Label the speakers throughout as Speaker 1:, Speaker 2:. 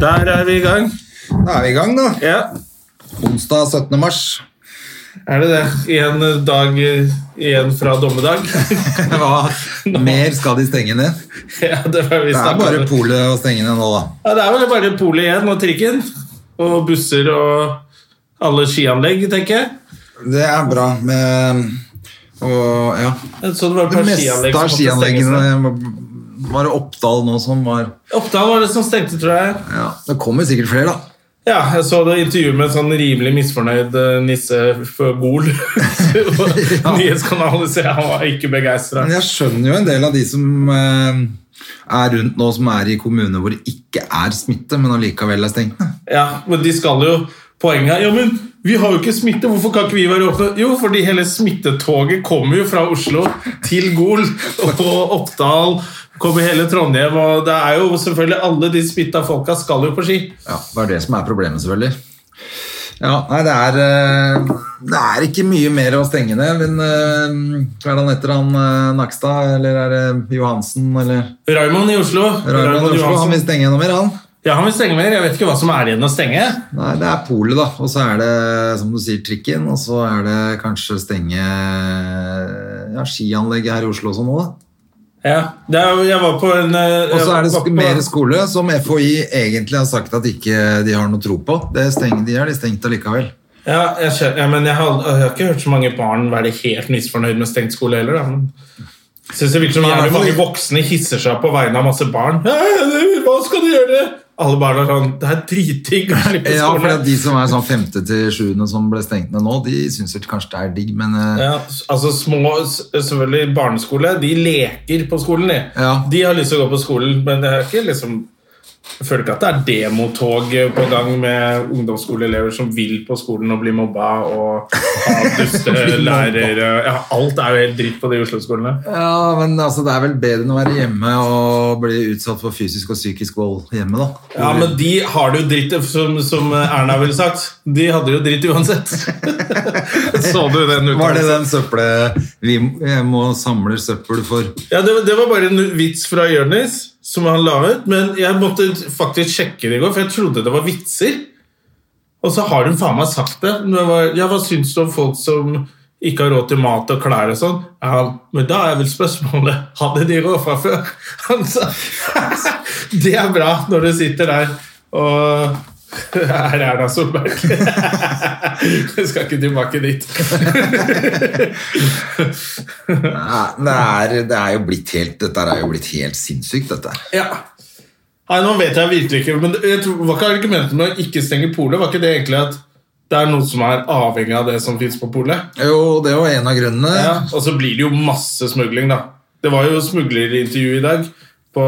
Speaker 1: Der er vi i gang.
Speaker 2: Da er vi i gang, da.
Speaker 1: Ja,
Speaker 2: Onsdag 17. mars.
Speaker 1: er det det. Igjen dag eh, igjen fra dommedag.
Speaker 2: Hva mer skal de stenge ned?
Speaker 1: ja, det, var vi
Speaker 2: Det er
Speaker 1: snakket
Speaker 2: bare
Speaker 1: om.
Speaker 2: polet å stenge ned nå, da.
Speaker 1: Ja, det er vel bare polet igjen og trikken. Og busser og alle skianlegg, tenker jeg.
Speaker 2: Det er bra med Og ja.
Speaker 1: Så det var et
Speaker 2: Det
Speaker 1: par
Speaker 2: meste
Speaker 1: skianlegg
Speaker 2: av
Speaker 1: som måtte stenges.
Speaker 2: skianleggene var det Oppdal nå som var
Speaker 1: Oppdal var det som stengte, tror jeg.
Speaker 2: ja, Det kommer sikkert flere, da.
Speaker 1: Ja, jeg så det intervjuet med en sånn rimelig misfornøyd eh, nisse fra Gol.
Speaker 2: Ja.
Speaker 1: Nyhetskanalen, så jeg var ikke begeistra.
Speaker 2: Men jeg skjønner jo en del av de som eh, er rundt nå, som er i kommuner hvor det ikke er smitte, men allikevel er stengt ned.
Speaker 1: Ja, men de skal jo Poenget er, ja, men vi har jo ikke smitte, hvorfor kan ikke vi være åpne? Jo, fordi hele smittetoget kommer jo fra Oslo til Gol og på Oppdal. Kommer hele Trondheim, og det er jo selvfølgelig alle de smitta folka skal jo på ski.
Speaker 2: Ja, det er det som er problemet, selvfølgelig. Ja, nei, det er, eh, det er ikke mye mer å stenge ned. Men eh, hva er det han heter, han eh, Nakstad, eller er det Johansen, eller
Speaker 1: Raymond i Oslo.
Speaker 2: Raymond Oslo? Han vil stenge enda mer, han.
Speaker 1: Ja, han vil stenge mer. Jeg vet ikke hva som er igjen å stenge.
Speaker 2: Nei, det er polet, da. Og så er det, som du sier, trikken. Og så er det kanskje stenge ja, skianlegget her i Oslo også nå, da.
Speaker 1: Ja, det er, jo- jeg var på en eh,
Speaker 2: Og så er det
Speaker 1: jeg var
Speaker 2: sk-
Speaker 1: på-
Speaker 2: mer skole, som FHI egentlig har sagt at ikke de har noe tro på. Det stenger, de har de stengt allikevel.
Speaker 1: Ja, jeg, skjønner, ja, men jeg, har, jeg har ikke hørt så mange barn være helt misfornøyd med stengt skole heller. Da. Men jeg synes det virker som
Speaker 2: Nei,
Speaker 1: jævlig
Speaker 2: for-
Speaker 1: mange voksne hisser seg opp på vegne av masse barn. «Hei, Hva skal du gjøre? Alle barna er sånn Det er dritdigg å slippe
Speaker 2: Ja, for
Speaker 1: skole.
Speaker 2: at de som er sånn femte til sjuende som ble stengt ned nå, de syns vel kanskje det er digg, men eh,
Speaker 1: Ja, altså små, s- selvfølgelig barneskole, de leker på skolen, de.
Speaker 2: Ja.
Speaker 1: De har lyst til å gå på skolen, men det er ikke liksom jeg føler ikke at det er demotog på gang med ungdomsskoleelever som vil på skolen og bli mobba og ha dustelærere. Ja, alt er jo helt dritt på de Oslo-skolene.
Speaker 2: ja, men altså, det er vel bedre enn å være hjemme og bli utsatt for fysisk og psykisk vold hjemme, da.
Speaker 1: Ja, men de har det jo dritt, som, som Erna ville sagt. De hadde det jo dritt uansett. Så du den uttalelsen?
Speaker 2: Var det den søple Vi jeg må samle søppel for
Speaker 1: Ja, det, det var bare en vits fra Jonis som han la ut. Men jeg måtte faktisk sjekke det i går, for jeg trodde det var vitser. Og så har hun faen meg sagt det. Når jeg var, ja, Hva syns du om folk som ikke har råd til mat og klær og sånn? Ja, men da er vel spørsmålet Hadde de råd fra før? Han sa Det er bra når du sitter der og her er Erna Solberg. Jeg skal ikke tilbake dit.
Speaker 2: Nei, det er, det er jo blitt helt Dette er jo blitt helt sinnssykt, dette.
Speaker 1: Ja. Nei, nå vet jeg virkelig ikke, men jeg tror, var ikke argumentet med å ikke stenge polet, var ikke det egentlig at det er noen som er avhengig av det som finnes på polet?
Speaker 2: Jo, det var en av grunnene.
Speaker 1: Ja. Og så blir det jo masse smugling, da. Det var jo smuglerintervju i dag på,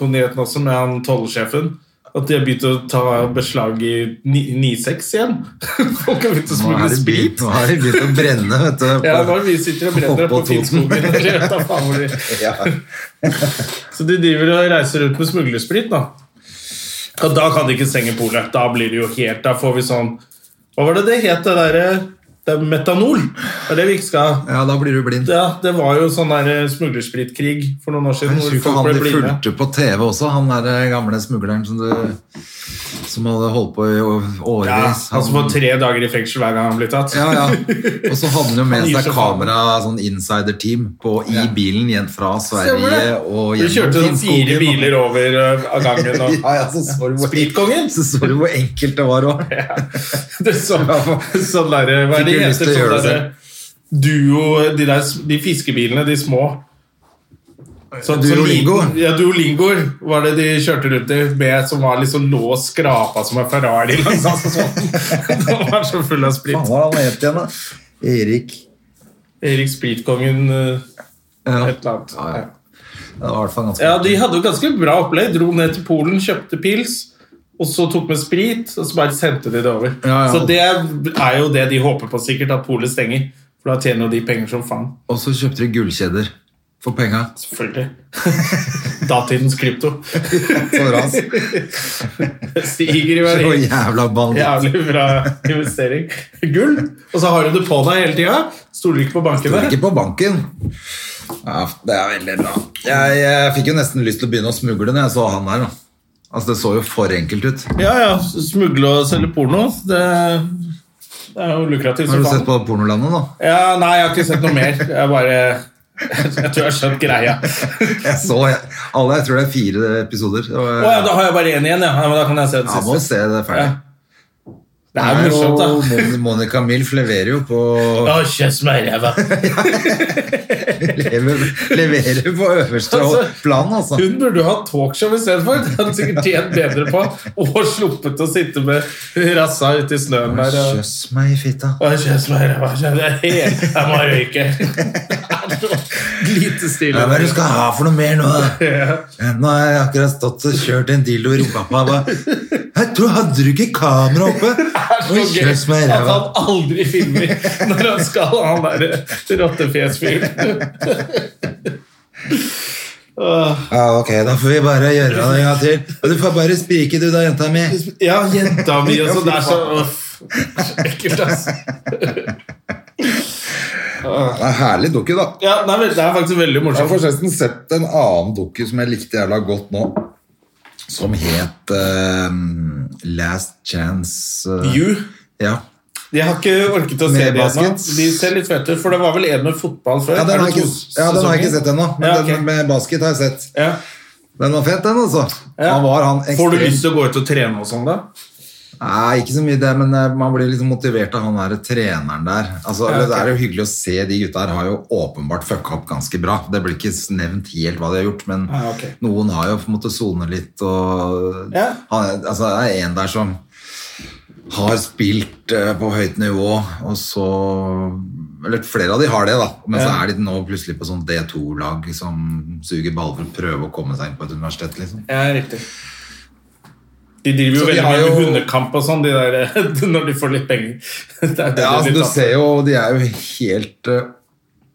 Speaker 1: på nyheten også med han tollsjefen. At de har begynt å ta beslag i ni- 96 igjen. Folk har begynt
Speaker 2: Nå
Speaker 1: å smugle
Speaker 2: er det begynt,
Speaker 1: sprit.
Speaker 2: nå er det begynt å brenne, vet du.
Speaker 1: Ja, nå er vi sitter og brenner
Speaker 2: Oppå
Speaker 1: på
Speaker 2: Toten.
Speaker 1: Finnskogen. og jeg vet da faen hvor de-
Speaker 2: Ja.
Speaker 1: Så de driver og reiser rundt med smuglersprit, da. Og da kan de ikke stenge polet. Da blir det jo helt Da får vi sånn Hva var det det het, det derre Det er metanol. Det er det vi ikke skal ha.
Speaker 2: ja, da blir du blind.
Speaker 1: Ja, det var jo sånn der smuglerspritkrig for noen år siden.
Speaker 2: Jeg
Speaker 1: hvor
Speaker 2: husker
Speaker 1: folk
Speaker 2: han
Speaker 1: ble
Speaker 2: de
Speaker 1: blinde.
Speaker 2: fulgte på TV også, han der eh, gamle smugleren som, du, som hadde holdt på i å-
Speaker 1: Ja, altså,
Speaker 2: årevis.
Speaker 1: han som får tre dager i fengsel hver gang han blir tatt.
Speaker 2: ja, ja. Og så hadde han jo
Speaker 1: Han
Speaker 2: med
Speaker 1: gir
Speaker 2: seg
Speaker 1: seg faen.
Speaker 2: kamera, sånn insider-team, på- i bilen igjen fra
Speaker 1: Stemmer
Speaker 2: Sverige
Speaker 1: det.
Speaker 2: og
Speaker 1: Du kjørte sånn fire
Speaker 2: Finnskogen.
Speaker 1: biler over øh, av gangen og
Speaker 2: Ja, ja, så så du hvor,
Speaker 1: Spritkongen?
Speaker 2: så så du hvor enkelt det var òg.
Speaker 1: Det er sånn, sånn der, hva er det
Speaker 2: Fikk jo lyst
Speaker 1: heter
Speaker 2: til å
Speaker 1: sånn
Speaker 2: gjøre det
Speaker 1: der, duo, de, der, de fiskebilene, de små. Sånn, sånn
Speaker 2: Duolingo.
Speaker 1: liten- ja, Duolingoer var det de kjørte rundt i med, som var liksom lå og skrapa som en Ferrari. Liksom, sånn. De var så full av
Speaker 2: Hva
Speaker 1: sprit.
Speaker 2: var han het igjen, da? Erik
Speaker 1: Erik Spritkongen, eh,
Speaker 2: ja.
Speaker 1: et eller annet.
Speaker 2: Ja, ja. Det var i hvert fall ganske
Speaker 1: Ja, de hadde jo ganske bra opplegg. Dro ned til Polen, kjøpte pils. Og så tok vi sprit, og så bare sendte de det over.
Speaker 2: Ja, ja.
Speaker 1: Så det er jo det de håper på sikkert, at polet stenger. For da tjener jo de penger som faen.
Speaker 2: Og så kjøpte de gullkjeder for penga.
Speaker 1: Selvfølgelig. Datidens krypto.
Speaker 2: Så raskt.
Speaker 1: Stiger i
Speaker 2: Så
Speaker 1: verdi.
Speaker 2: jævla banditt.
Speaker 1: Jævlig bra investering. Gull. Og så har du det på deg hele tida. Stoler ikke på
Speaker 2: Tror
Speaker 1: bankene.
Speaker 2: ikke på banken. Ja, det er veldig bra. Jeg, jeg fikk jo nesten lyst til å begynne å smugle når jeg så han der. da. Altså, Det så jo for enkelt ut.
Speaker 1: Ja, ja. Smugle og selge porno. Det, det er jo
Speaker 2: Har
Speaker 1: lukrativt. som
Speaker 2: du
Speaker 1: faen.
Speaker 2: sett på Pornolandet, da?
Speaker 1: Ja, nei, jeg har ikke sett noe mer. Jeg bare Jeg tror jeg har skjønt greia.
Speaker 2: Jeg så jeg, alle, jeg tror det er fire episoder. Og,
Speaker 1: Å ja, da har jeg bare én igjen, ja. ja. Men da kan jeg se den
Speaker 2: jeg må
Speaker 1: siste.
Speaker 2: se det ferdig.
Speaker 1: Det er jo morsomt,
Speaker 2: jo-
Speaker 1: da.
Speaker 2: Mon- Monica Milf leverer jo på
Speaker 1: Å, kjøss meg i ræva.
Speaker 2: lever, Leverer på øverste
Speaker 1: Altså,
Speaker 2: plan, altså.
Speaker 1: Hun burde jo hatt talkshow istedenfor. Det hadde sikkert tjent bedre på. Og sluppet å sitte med rassa ute i snøen der. og-
Speaker 2: Kjøss meg i fitta.
Speaker 1: Å, kjøss meg i ræva. kjøss- det er helt- Jeg må røyke. Det er så Lite
Speaker 2: Ja, Hva er det du
Speaker 1: stille.
Speaker 2: skal ha for noe mer nå? da?
Speaker 1: Ja.
Speaker 2: Ja, Nå har jeg akkurat stått og kjørt en dildo i rumpa på meg. Jeg tror hadde du ikke kamera oppe? Oi,
Speaker 1: Så gøy
Speaker 2: kjøss meg i
Speaker 1: at
Speaker 2: ræva.
Speaker 1: han aldri filmer når han skal ha han der rottefjesfyren. Åh.
Speaker 2: Ja, ok, da får vi bare gjøre det en gang til. Og du får bare sprike, du da, jenta mi.
Speaker 1: Ja, jenta mi også. Det er så uff. ekkelt, ass.
Speaker 2: Det er herlig dukke, da.
Speaker 1: Ja, nei, men det er faktisk veldig
Speaker 2: Jeg har
Speaker 1: morsomt.
Speaker 2: forresten sett en annen doku som jeg likte jævla godt nå, som het eh, Last Chance eh,
Speaker 1: You
Speaker 2: Ja.
Speaker 1: Jeg har ikke orket å se
Speaker 2: Med
Speaker 1: det ennå.
Speaker 2: basket?
Speaker 1: De ser litt fete ut, for det var vel en med fotball før?
Speaker 2: Ja, den
Speaker 1: Er
Speaker 2: har
Speaker 1: det
Speaker 2: jeg ikke,
Speaker 1: to
Speaker 2: ja, den har jeg ikke
Speaker 1: sesonger?
Speaker 2: sett ennå, men
Speaker 1: Ja, ok.
Speaker 2: den med basket har jeg sett.
Speaker 1: Ja.
Speaker 2: Den var fett, den, altså.
Speaker 1: Ja.
Speaker 2: Han var han
Speaker 1: Får du
Speaker 2: ekstremt-
Speaker 1: lyst til å gå ut og trene og sånn, da?
Speaker 2: Nei, ikke så mye det, men eh, man blir liksom motivert av han der treneren der. Altså,
Speaker 1: Ja, ok.
Speaker 2: Det er jo hyggelig å se. De gutta her har jo åpenbart fucka opp ganske bra. Det blir ikke nevnt helt hva de har gjort, men
Speaker 1: Ja, Ah, ok.
Speaker 2: noen har jo på en måte sone litt og
Speaker 1: Ja.
Speaker 2: han, er- altså, Det er en der som har spilt eh, på høyt nivå, og så Eller flere av de har det, da, men så
Speaker 1: Ja.
Speaker 2: er de nå plutselig på sånn D2-lag som suger ball for å prøve å komme seg inn på et universitet, liksom.
Speaker 1: Ja, riktig. De driver jo
Speaker 2: Så de
Speaker 1: veldig
Speaker 2: har
Speaker 1: mye med
Speaker 2: jo-
Speaker 1: hundekamp og sånn, de der, når de får litt penger. Det er det
Speaker 2: Ja,
Speaker 1: de
Speaker 2: altså, du
Speaker 1: tar.
Speaker 2: ser jo, de er jo helt eh,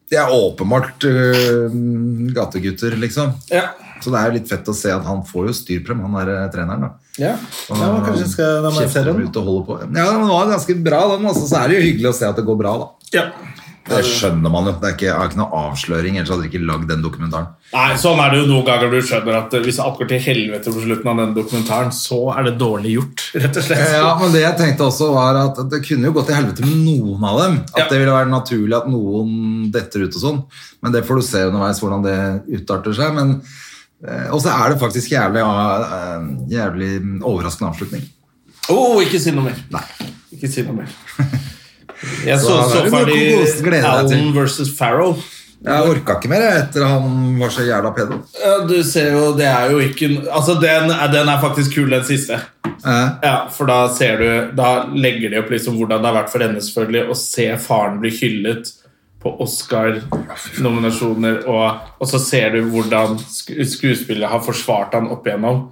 Speaker 2: De er åpenbart eh, gategutter, liksom.
Speaker 1: Ja.
Speaker 2: Så det er jo litt fett å se at han får jo styr på dem, han der eh, treneren. da.
Speaker 1: Ja.
Speaker 2: Og
Speaker 1: ja, men kanskje skal, da må jeg se
Speaker 2: kjefter
Speaker 1: den.
Speaker 2: ut og holder på. Ja, den var ganske bra, den. Altså, så er det jo hyggelig å se at det går bra, da.
Speaker 1: Ja.
Speaker 2: Det skjønner man jo. Det er ikke, er ikke noe avsløring, ellers hadde de ikke lagd den dokumentaren.
Speaker 1: Nei, sånn er det jo noen ganger du skjønner at eh, hvis alt går til helvete på slutten av den dokumentaren, så er det dårlig gjort, rett og slett.
Speaker 2: Eh, Ja, men det jeg tenkte også var at det kunne jo gått til helvete med noen av dem. At
Speaker 1: Ja.
Speaker 2: det ville være naturlig at noen detter ut og sånn. Men det får du se underveis hvordan det utarter seg. Men eh, og så er det faktisk jævlig, eh, jævlig overraskende avslutning.
Speaker 1: Oh, ikke si noe mer. Ikke si noe mer. Jeg så,
Speaker 2: Så da
Speaker 1: så
Speaker 2: er det
Speaker 1: ferdig
Speaker 2: noe å glede deg
Speaker 1: Allen
Speaker 2: til.
Speaker 1: versus Farrell.
Speaker 2: Jeg orka ikke mer jeg, etter han var så jævla pedo.
Speaker 1: Ja, du ser jo, det er jo ikke Altså, den, er- den er faktisk kul, den siste.
Speaker 2: Eh,
Speaker 1: Ja, for da ser du Da legger de opp liksom hvordan det har vært for henne, selvfølgelig, å se faren bli hyllet på Oscar-nominasjoner, og, og så ser du hvordan sk skuespillet har forsvart han opp igjennom.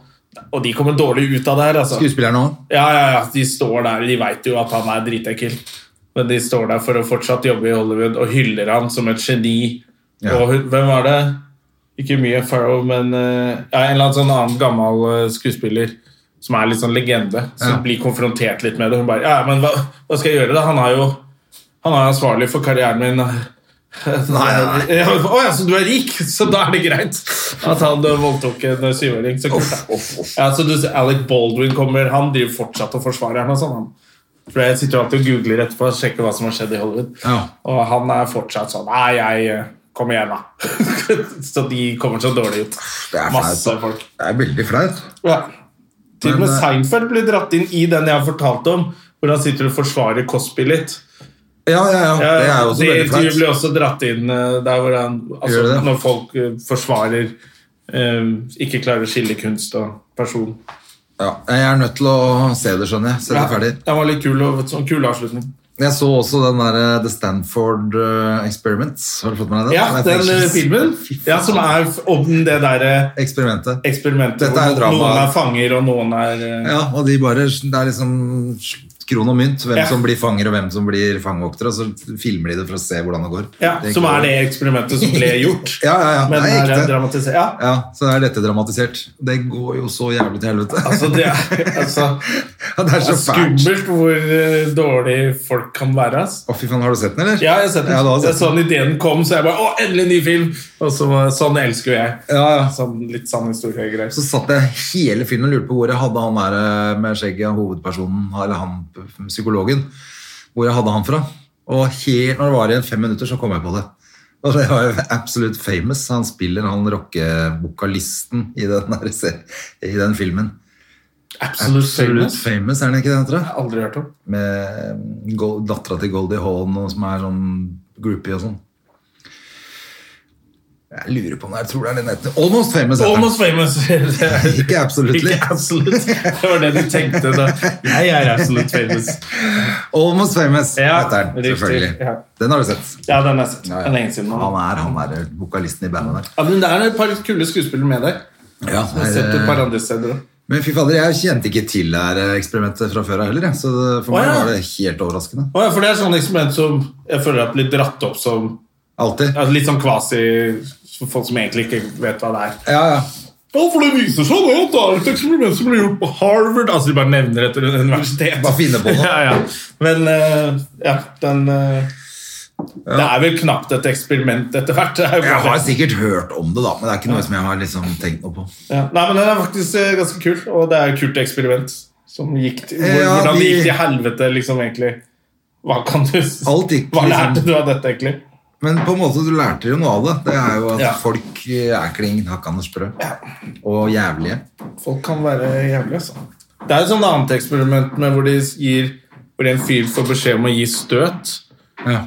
Speaker 1: Og de kommer dårlig ut av det her, altså.
Speaker 2: Skuespilleren òg.
Speaker 1: Ja, ja, ja, de står der, de vet jo at han er dritekkel. Men de står der for å fortsatt jobbe i Hollywood og hyller han som et geni.
Speaker 2: Ja.
Speaker 1: Og hun- hvem var det? Ikke mye Farrow, men eh, ja, en eller annen sånn annen gammel eh, skuespiller som er litt sånn legende, som
Speaker 2: Ja.
Speaker 1: blir konfrontert litt med det. Hun bare Ja, men hva, hva skal jeg gjøre, da? Han er jo han er ansvarlig for karrieren min.
Speaker 2: nei,
Speaker 1: Ja, men, Å ja, så du er rik, så da er det greit at han eh, voldtok en syvåring. Så kult, da. Ja, så du ser Alec Baldwin kommer, han driver fortsatt og forsvarer han og sånn. han. For jeg sitter jo alltid og googler etterpå og sjekker hva som har skjedd i Hollywood.
Speaker 2: Ja.
Speaker 1: Og han er fortsatt sånn Nei, jeg eh, Kom igjen, da. så de kommer så dårlig ut.
Speaker 2: Det er flaut.
Speaker 1: Masse
Speaker 2: da.
Speaker 1: folk.
Speaker 2: Det er veldig flaut.
Speaker 1: Ja. Til og
Speaker 2: Men,
Speaker 1: med
Speaker 2: eh,
Speaker 1: Seinfeld blir dratt inn i den jeg har fortalt om, hvor han sitter og forsvarer Cosby litt.
Speaker 2: Ja, ja, ja. Det
Speaker 1: Ja,
Speaker 2: er jo også
Speaker 1: det
Speaker 2: veldig
Speaker 1: intervjuet
Speaker 2: flaut.
Speaker 1: ble også dratt inn eh, der hvor han altså,
Speaker 2: Gjør det?
Speaker 1: Når folk eh, forsvarer eh, Ikke klarer å skille kunst og person.
Speaker 2: Ja, jeg er nødt til å se det, skjønner jeg. Se det ferdig.
Speaker 1: Ja, det var litt kul og sånn kul avslutning.
Speaker 2: Jeg så også den der eh, The Stanford eh, Experiment. Har du fått med deg den?
Speaker 1: Ja,
Speaker 2: Det er
Speaker 1: den eh,
Speaker 2: fengsels-
Speaker 1: filmen ja, som er f- om det der eh,
Speaker 2: Eksperimentet.
Speaker 1: eksperimentet
Speaker 2: Dette er jo
Speaker 1: hvor noen
Speaker 2: drama.
Speaker 1: er fanger og noen er eh,
Speaker 2: Ja, og de bare, det er liksom kron og mynt, hvem
Speaker 1: Ja.
Speaker 2: som blir fanger og hvem som blir fangevoktere, og så filmer de det for å se hvordan det går.
Speaker 1: ja,
Speaker 2: Det
Speaker 1: Som
Speaker 2: går-
Speaker 1: er det eksperimentet som ble gjort.
Speaker 2: Ja, ja, ja.
Speaker 1: Men
Speaker 2: det er
Speaker 1: er
Speaker 2: ekte.
Speaker 1: dramatisert. Ja,
Speaker 2: Ja, så er dette dramatisert. Det går jo så jævlig til helvete.
Speaker 1: altså det er, altså,
Speaker 2: Ja, det er
Speaker 1: det
Speaker 2: så
Speaker 1: er
Speaker 2: fælt.
Speaker 1: skummelt hvor eh, dårlig folk kan være. ass.
Speaker 2: Å, fy faen, har du sett den, eller?
Speaker 1: Ja, jeg har sett den.
Speaker 2: Ja, du har
Speaker 1: jeg
Speaker 2: sett
Speaker 1: så den ideen kom, så jeg bare Å, endelig ny film! Og så var Sånn elsker jo jeg.
Speaker 2: Ja, ja.
Speaker 1: Sånn litt sann historiegreier.
Speaker 2: Så satt jeg hele filmen og lurte på hvor jeg hadde han der eh, med skjegget, hovedpersonen, eller han psykologen, hvor jeg hadde han fra. Og helt når det var igjen fem minutter, så kom jeg på det. Og det var jo absolutt famous. Han spiller han rockevokalisten i, den der se- i den filmen.
Speaker 1: Absolutt
Speaker 2: Absolutt famous, er han ikke det, han, tror jeg?
Speaker 1: Aldri hørt om.
Speaker 2: Med Gold- dattera til Goldie Hawn, og som er sånn groupie og sånn. Jeg lurer på om det er, jeg tror det er den heter. Almost famous. heter den.
Speaker 1: Almost famous. Det er-
Speaker 2: Ikke absolutely.
Speaker 1: Ikke absolutt. Det var det du tenkte da. Jeg er absolutt famous.
Speaker 2: Almost Famous
Speaker 1: Ja,
Speaker 2: heter den,
Speaker 1: riktig,
Speaker 2: selvfølgelig.
Speaker 1: ja.
Speaker 2: Den har du sett.
Speaker 1: Ja, den har jeg sett.
Speaker 2: Ja, ja.
Speaker 1: Det er lenge siden.
Speaker 2: Han
Speaker 1: nå.
Speaker 2: er, han er eh, vokalisten i bandet der.
Speaker 1: Ja, men det er et par kule skuespillere med der.
Speaker 2: Ja,
Speaker 1: Jeg har
Speaker 2: det
Speaker 1: sett det et par
Speaker 2: er,
Speaker 1: andre steder også.
Speaker 2: eh, men fy fader, jeg kjente ikke til det her eh, eksperimentet fra før av heller, jeg. så det- for
Speaker 1: Å,
Speaker 2: meg
Speaker 1: ja.
Speaker 2: var det helt overraskende.
Speaker 1: Å ja, for det er sånn eksperiment som jeg føler at blir dratt opp som
Speaker 2: Alltid.
Speaker 1: ja, Litt sånn kvasi for folk som egentlig ikke vet hva det er.
Speaker 2: Ja, ja.
Speaker 1: Ja, for det viser seg da at det er et eksperiment som ble gjort på Harvard. Altså, de bare nevner et universitet.
Speaker 2: Bare finne på noe.
Speaker 1: Ja, ja. Men eh, ja, den eh, Det er vel knapt et eksperiment etter hvert. Det er jo
Speaker 2: Jeg
Speaker 1: bare-
Speaker 2: har sikkert hørt om det, da, men det er ikke noe som jeg har liksom tenkt noe på.
Speaker 1: Ja. Nei, men den er faktisk eh, ganske kul, og det er et kult eksperiment. Som gikk til, hvor,
Speaker 2: Ja,
Speaker 1: hvordan det
Speaker 2: vi-
Speaker 1: gikk til helvete, liksom, egentlig. Hva kan du s-
Speaker 2: Alt gikk
Speaker 1: Hva
Speaker 2: liksom-
Speaker 1: lærte du av dette, egentlig?
Speaker 2: Men på en måte du lærte jo noe av det. Det er jo at
Speaker 1: Ja.
Speaker 2: folk eh, er klin hakkande sprø. Og jævlige.
Speaker 1: Folk kan være jævlig, altså. Det er et sånt annet eksperiment med hvor de gir hvor en fyr får beskjed om å gi støt.
Speaker 2: Ja.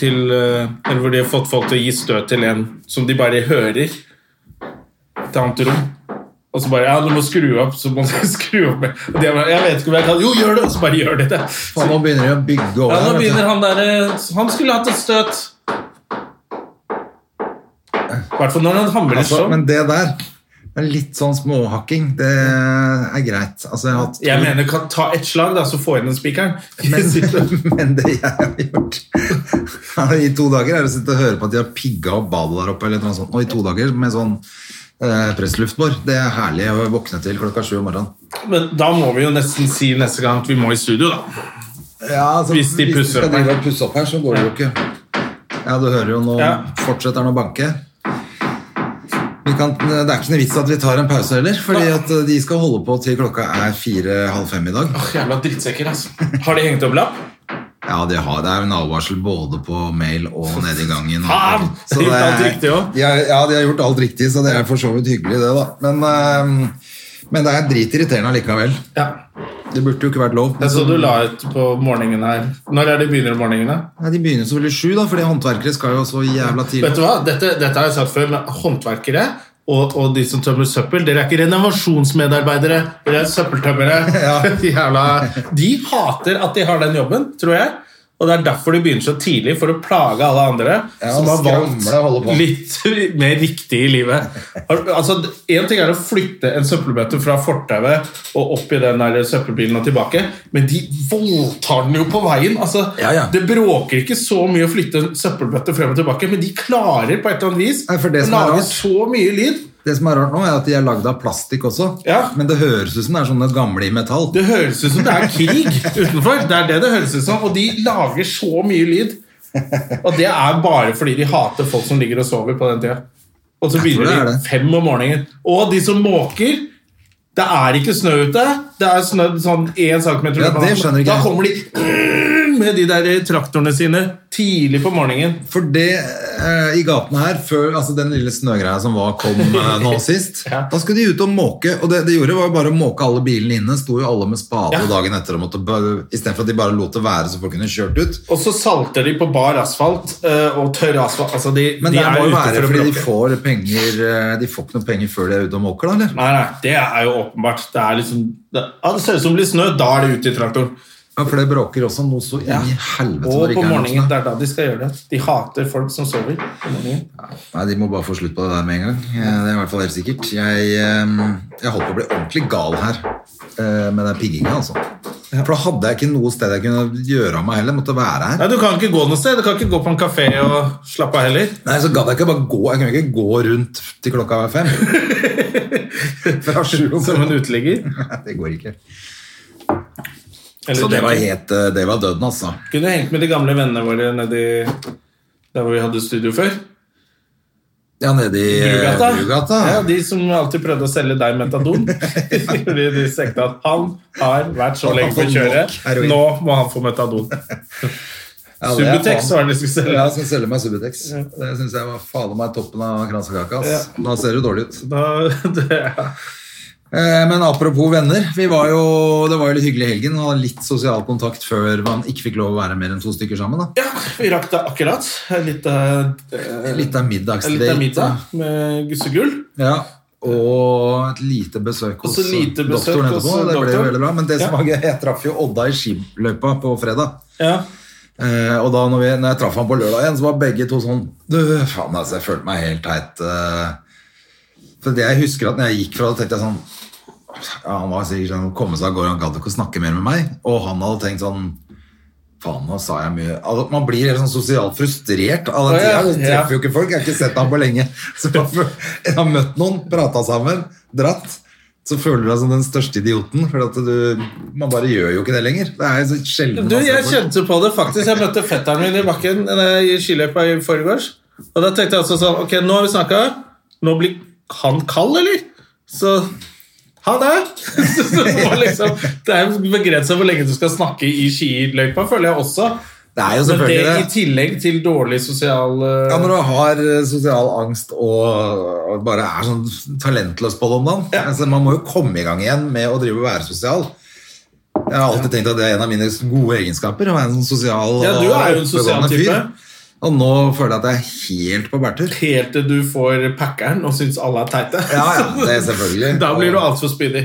Speaker 1: til eh, Eller hvor de har fått folk til å gi støt til en som de bare hører til annet rom. Og så bare Ja, du må skru opp. Så må de skru opp med Og de bare Jeg vet ikke om jeg kan Jo, gjør det! Og så bare gjør de det.
Speaker 2: Faen, nå begynner de å bygge over
Speaker 1: Ja, nå
Speaker 2: her, vet du.
Speaker 1: begynner han derre Han skulle hatt et støt. I hvert fall når han hamrer
Speaker 2: Altså,
Speaker 1: sånn.
Speaker 2: men det der det er litt sånn småhakking. Det er greit. Altså, jeg har hatt
Speaker 1: Jeg mener, kan ta ett slag, da, så få inn den spikeren.
Speaker 2: men, men det jeg har gjort I to dager er det å sitte og høre på at de har pigga opp badet der oppe. Eller noe sånt. Og i to dager med sånn eh, pressluftbår. Det er herlig å våkne til klokka sju om morgenen.
Speaker 1: Men da må vi jo nesten si neste gang at vi må i studio, da.
Speaker 2: Ja, altså,
Speaker 1: Hvis de pusser
Speaker 2: skal
Speaker 1: opp her.
Speaker 2: drive og pusse opp her, så går det jo ikke. Ja, du hører jo nå
Speaker 1: Ja.
Speaker 2: fortsetter han å banke. Vi kan, det er ikke noe vits at vi tar en pause heller, fordi
Speaker 1: Nei.
Speaker 2: at eh, de skal holde på til klokka er fire-halv fem i dag.
Speaker 1: Åh, Jævla drittsekker, altså. Har de hengt opp lapp?
Speaker 2: Ja, de har, det er en advarsel både på mail og nede i gangen.
Speaker 1: Faen!
Speaker 2: Så
Speaker 1: De har gjort
Speaker 2: er-
Speaker 1: alt riktig også.
Speaker 2: De har, ja, de har gjort alt riktig, så det er for så vidt hyggelig det, da. Men, eh, men det er dritirriterende allikevel.
Speaker 1: Ja.
Speaker 2: Det burde jo ikke vært lov.
Speaker 1: Jeg så du la ut på morgenen her. Når er det begynner om morgenen? da?
Speaker 2: Nei, de begynner selvfølgelig sju, da, fordi håndverkere skal jo så jævla tidlig.
Speaker 1: Vet du hva? Dette, dette har jeg sagt før, men håndverkere og, og de som tømmer søppel, dere er ikke renovasjonsmedarbeidere, dere er søppeltømmere.
Speaker 2: Ja.
Speaker 1: De Jævla, de hater at de har den jobben, tror jeg. Og det er derfor de begynner så tidlig, for å plage alle andre
Speaker 2: Ja,
Speaker 1: som har
Speaker 2: skramle og holde
Speaker 1: valgt
Speaker 2: på.
Speaker 1: litt mer riktig i livet. Har- Altså, Én ting er å flytte en søppelbøtte fra fortauet og opp i den der søppelbilen og tilbake, men de voldtar den jo på veien. Altså,
Speaker 2: Ja, ja.
Speaker 1: Det bråker ikke så mye å flytte en søppelbøtte frem og tilbake, men de klarer på et eller annet vis
Speaker 2: Nei, for det
Speaker 1: å
Speaker 2: som er
Speaker 1: lage
Speaker 2: rart-
Speaker 1: så mye lyd.
Speaker 2: Det som er rart nå, er at de er lagd av plastikk også.
Speaker 1: Ja.
Speaker 2: Men det høres ut som det er sånne gamle i metall.
Speaker 1: Det høres ut som det er krig utenfor. Det er det det høres ut som, og de lager så mye lyd. Og det er bare fordi de hater folk som ligger og sover på den tida. Og så
Speaker 2: Jeg tror
Speaker 1: begynner
Speaker 2: det er
Speaker 1: de
Speaker 2: det.
Speaker 1: fem om morgenen. Og de som måker Det er ikke snø ute. Det er snø sånn én centimeter.
Speaker 2: Ja, det skjønner ikke
Speaker 1: da
Speaker 2: jeg.
Speaker 1: kommer de med de der traktorene sine tidlig på morgenen.
Speaker 2: For det eh, i gatene her, før altså den lille snøgreia som var, kom eh, nå sist,
Speaker 1: Ja.
Speaker 2: da skulle de ut og måke. Og det de gjorde, var jo bare å måke alle bilene inne. Sto jo alle med spade
Speaker 1: Ja.
Speaker 2: dagen etter og måtte bare- i stedet for at de bare lot det være så folk kunne kjørt ut.
Speaker 1: Og så salter de på bar asfalt eh, og tørr asfalt. Altså, de,
Speaker 2: Men
Speaker 1: de
Speaker 2: det må
Speaker 1: er
Speaker 2: jo
Speaker 1: ute
Speaker 2: være
Speaker 1: for å
Speaker 2: fordi de
Speaker 1: bråke.
Speaker 2: får penger eh, De får ikke noe penger før de er ute og måker, da? eller?
Speaker 1: Nei, nei, det er jo åpenbart. Det er liksom det, ja, det ser ut som det blir snø, da er det ut i traktoren.
Speaker 2: Ja, for det bråker også noe så i helvete når
Speaker 1: Og
Speaker 2: det ikke er
Speaker 1: på
Speaker 2: noe
Speaker 1: morgenen.
Speaker 2: snø.
Speaker 1: Det er da de skal gjøre det. De hater folk som sover. på morgenen.
Speaker 2: Nei, De må bare få slutt på det der med en gang. Eh, Det er i hvert fall helt sikkert. Jeg, eh, jeg holdt på å bli ordentlig gal her eh, med den pigginga, altså. For da hadde jeg ikke noe sted jeg kunne gjøre av meg heller. Måtte være her.
Speaker 1: Nei, Du kan ikke gå noe sted. Du kan ikke gå på en kafé og slappe av heller.
Speaker 2: Nei, så gadd jeg ikke bare gå. Jeg kunne ikke gå rundt til klokka var fem. Fra sju om
Speaker 1: Som en
Speaker 2: morgenen.
Speaker 1: uteligger.
Speaker 2: Nei, Det går ikke.
Speaker 1: Eller
Speaker 2: Så det var,
Speaker 1: drinking.
Speaker 2: helt, eh, det var døden, altså.
Speaker 1: Kunne hengt med de gamle vennene våre nedi der hvor vi hadde studio før.
Speaker 2: Ja, nede i eh,
Speaker 1: Brugata.
Speaker 2: Brugata.
Speaker 1: Ja, de som alltid prøvde å selge deg metadon. Fordi de tenkte at han har vært så
Speaker 2: Han
Speaker 1: lenge på
Speaker 2: får nok
Speaker 1: kjøret,
Speaker 2: heroin.
Speaker 1: nå må han få metadon.
Speaker 2: Ja, det er
Speaker 1: Subutex
Speaker 2: faen-
Speaker 1: var det de skulle
Speaker 2: Ja,
Speaker 1: selge.
Speaker 2: jeg skal selge meg Subutex. Det syns jeg var fader meg toppen av kransekaka. ass. Da ser du dårlig ut.
Speaker 1: Da, det,
Speaker 2: Eh, Men apropos venner, vi var jo, det var jo litt hyggelig i helgen å ha litt sosial kontakt før man ikke fikk lov å være mer enn to stykker sammen. da.
Speaker 1: ja, vi rakk det akkurat. Litt,
Speaker 2: Litt av middagsdate.
Speaker 1: Litt av middag med gussegull.
Speaker 2: Ja, og et lite besøk
Speaker 1: Og
Speaker 2: hos
Speaker 1: så lite besøk
Speaker 2: doktoren
Speaker 1: hos
Speaker 2: etterpå. Det ble jo
Speaker 1: doktoren.
Speaker 2: veldig bra. Men det som
Speaker 1: Ja.
Speaker 2: var gøy, jeg traff jo Odda i skiløypa på fredag.
Speaker 1: Ja.
Speaker 2: Eh, og da når, vi, når jeg traff han på lørdag igjen, så var begge to sånn Du, faen altså, jeg følte meg helt teit. Eh, for det jeg husker at når jeg gikk fra det, tenkte jeg sånn ja, Han var sikkert sånn komme seg av gårde, han gadd ikke å snakke mer med meg. Og han hadde tenkt sånn Faen, nå sa jeg mye Altså, Man blir helt sånn sosialt frustrert av den
Speaker 1: Å, ja,
Speaker 2: tida. Du
Speaker 1: ja.
Speaker 2: treffer jo ikke folk. Jeg har ikke sett ham på lenge. Så man føl- jeg har møtt noen, prata sammen, dratt. Så føler du deg som den største idioten, for at du, man bare gjør jo ikke det lenger. Det er jo så sjelden
Speaker 1: Du,
Speaker 2: man ser
Speaker 1: jeg
Speaker 2: folk.
Speaker 1: kjente på det faktisk. Jeg møtte fetteren min i bakken eh, i skiløypa i forgårs. Og da tenkte jeg også sånn Ok, nå har vi snakka. Nå blir han kald, eller? Så ha det! Så det var liksom, det er begrensa hvor lenge du skal snakke i skiløypa, føler jeg også.
Speaker 2: Det er jo
Speaker 1: Men det
Speaker 2: selvfølgelig det.
Speaker 1: i tillegg til dårlig sosial eh,
Speaker 2: Ja, når du har eh, sosial angst og, og bare er sånn talentløs på det om dagen. Altså, man må jo komme i gang igjen med å drive og være sosial. Jeg har alltid tenkt at det er en av mine gode egenskaper. Å være en sånn sosial
Speaker 1: Ja, du er jo en
Speaker 2: og
Speaker 1: sosial
Speaker 2: oppegående
Speaker 1: type.
Speaker 2: Og nå føler jeg at jeg er helt på bærtur.
Speaker 1: Helt til du får packeren og syns alle er teite.
Speaker 2: Ja, ja, det er selvfølgelig.
Speaker 1: Da blir du altfor spydig.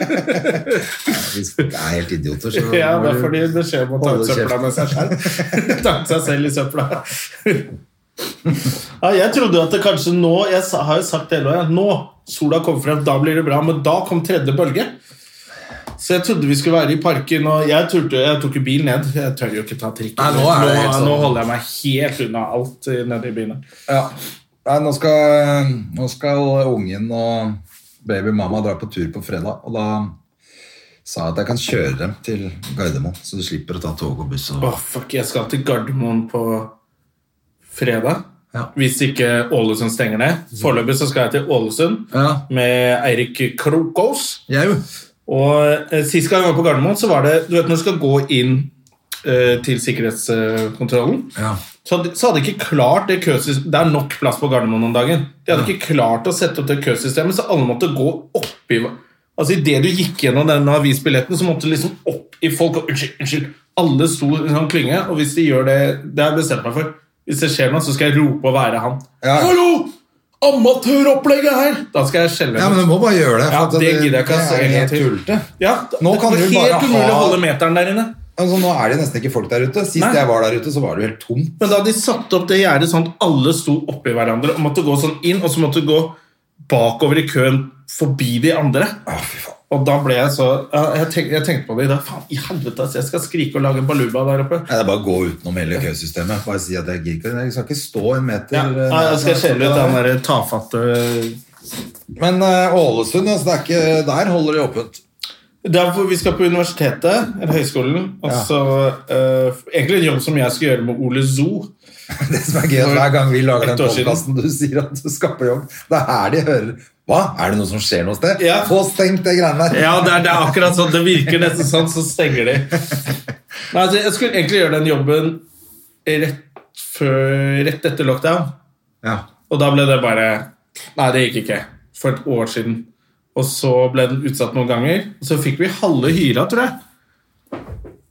Speaker 2: Hvis folk er helt idioter, så
Speaker 1: Ja,
Speaker 2: må du-
Speaker 1: det er fordi det skjer med å ta ut
Speaker 2: Holde
Speaker 1: søpla
Speaker 2: kjeft.
Speaker 1: med seg selv. ta ut seg selv i søpla. ja, jeg trodde at det kanskje nå Jeg sa- har jo sagt det hele året, at nå sola kommer frem, da blir det bra. Men da kom tredje bølge. Så jeg trodde vi skulle være i parken, og jeg, turte, jeg tok jo bil ned. Jeg tør jo ikke ta trikken.
Speaker 2: Nei, nå er det helt sånn.
Speaker 1: nå holder jeg meg helt unna alt eh, nede i byen.
Speaker 2: Ja. Nei, nå skal, nå skal ungen og babymamma dra på tur på fredag, og da sa jeg at jeg kan kjøre dem til Gardermoen, så du slipper å ta tog og buss. Og...
Speaker 1: Åh, fuck, jeg skal til Gardermoen på fredag.
Speaker 2: Ja. Mm.
Speaker 1: Hvis ikke Ålesund stenger ned. Foreløpig så skal jeg til Ålesund.
Speaker 2: Ja,
Speaker 1: med Eirik Krokås.
Speaker 2: jeg jo.
Speaker 1: Og eh, Sist gang jeg var på Gardermoen, så var det Du vet når du skal gå inn eh, til sikkerhetskontrollen,
Speaker 2: Ja.
Speaker 1: så, hadde, så hadde de ikke klart det køsystemet Det er nok plass på Gardermoen om dagen. De hadde ikke klart å sette opp det køsystemet, så alle måtte gå oppi Altså Idet du gikk gjennom den avisbilletten, så måtte du liksom opp i folk og Unnskyld, unnskyld. Alle sto i en sånn klynge, og hvis de gjør det Det har jeg bestemt meg for. Hvis det skjer noe, så skal jeg rope og være han.
Speaker 2: Ja.
Speaker 1: Hallo! Amatøropplegget her! Da skal jeg skjelve.
Speaker 2: ja, men du må bare gjøre det.
Speaker 1: Ja,
Speaker 2: for at
Speaker 1: det gidder jeg ikke, ass.
Speaker 2: det er
Speaker 1: En gang
Speaker 2: helt
Speaker 1: til.
Speaker 2: tullete.
Speaker 1: Ja,
Speaker 2: Nå kan
Speaker 1: det er
Speaker 2: du
Speaker 1: helt
Speaker 2: bare
Speaker 1: umulig
Speaker 2: ha-
Speaker 1: å holde meteren der inne.
Speaker 2: Altså, nå er det nesten ikke folk der ute. Sist
Speaker 1: Nei.
Speaker 2: jeg var der ute, så var det jo helt tomt.
Speaker 1: Men da hadde de satt opp det gjerdet sånn at alle sto oppi hverandre og måtte gå sånn inn, og så måtte du gå bakover i køen forbi de andre. Og da ble jeg så ja, Jeg, tenk, jeg tenkte på det i dag. Faen, i helvete, ass, jeg skal skrike og lage en baluba der oppe.
Speaker 2: Nei, det er bare å gå utenom hele køsystemet. Bare si at jeg gidder ikke. Jeg skal ikke stå en meter.
Speaker 1: Ja,
Speaker 2: eh,
Speaker 1: ja, jeg skal skjelle ut den der tafatte
Speaker 2: Men eh, Ålesund, altså, det er ikke, der holder de åpent.
Speaker 1: Det er hvor vi skal på universitetet, eller høyskolen. Og
Speaker 2: Ja.
Speaker 1: så eh, Egentlig en jobb som jeg skal gjøre med Ole Zoo.
Speaker 2: Det som er gøy, at hver gang vi lager
Speaker 1: Et
Speaker 2: den
Speaker 1: år siden.
Speaker 2: podkasten du sier at du skal på jobb, det er her de hører Hva? Er det noe som skjer noe sted?
Speaker 1: Ja.
Speaker 2: Få stengt det greiene der.
Speaker 1: Ja, det er, det er akkurat sånn. Det virker nesten sånn, så stenger de. Nei, altså, jeg skulle egentlig gjøre den jobben rett, før, rett etter lockdown,
Speaker 2: Ja.
Speaker 1: og da ble det bare Nei, det gikk ikke. For et år siden. Og så ble den utsatt noen ganger. Og så fikk vi halve hyra, tror jeg.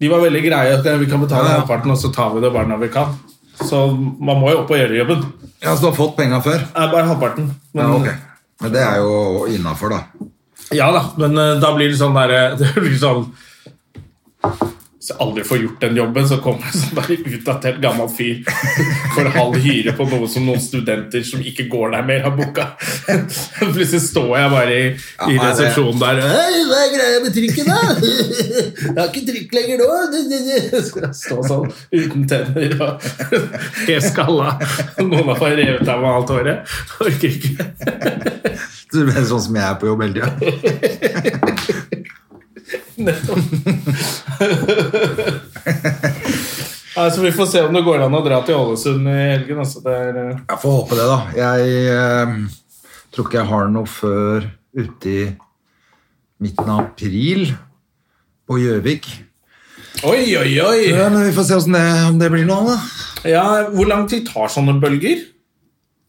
Speaker 1: De var veldig greie. at Vi kan betale
Speaker 2: Ja, ja.
Speaker 1: halvparten, og så tar vi det bare når vi kan. Så man må jo opp og gjøre jobben.
Speaker 2: ja, så du har fått penga før?
Speaker 1: Nei, bare halvparten. Men,
Speaker 2: Ja, ok. Men det er jo innafor, da.
Speaker 1: eh, Ja da, men eh, da blir det sånn derre Det blir sånn Hvis jeg aldri får gjort den jobben, så kommer jeg som en utdatert gammel fyr for halv hyre på noe som noen studenter som ikke går der mer, har booka. Plutselig står jeg bare i, i
Speaker 2: Ja, nei, det-
Speaker 1: resepsjonen der eh, Hei, hva er greia med trykket, da? Jeg har ikke trykk lenger nå. Skal jeg stå sånn uten tenner og helt skalla. Noen har fått revet av meg alt håret. Orker ikke.
Speaker 2: Du ble sånn som jeg er på jobb hele tida.
Speaker 1: Nei, så vi får se om det går an å dra til Ålesund i helgen. Altså. Det er, eh,
Speaker 2: Jeg får håpe det, da. Jeg eh, tror ikke jeg har noe før uti midten av april på Gjøvik.
Speaker 1: Oi, oi, oi!
Speaker 2: Ja, men vi får se hvordan det, om det blir noe av, da.
Speaker 1: Ja, hvor lang tid tar sånne bølger?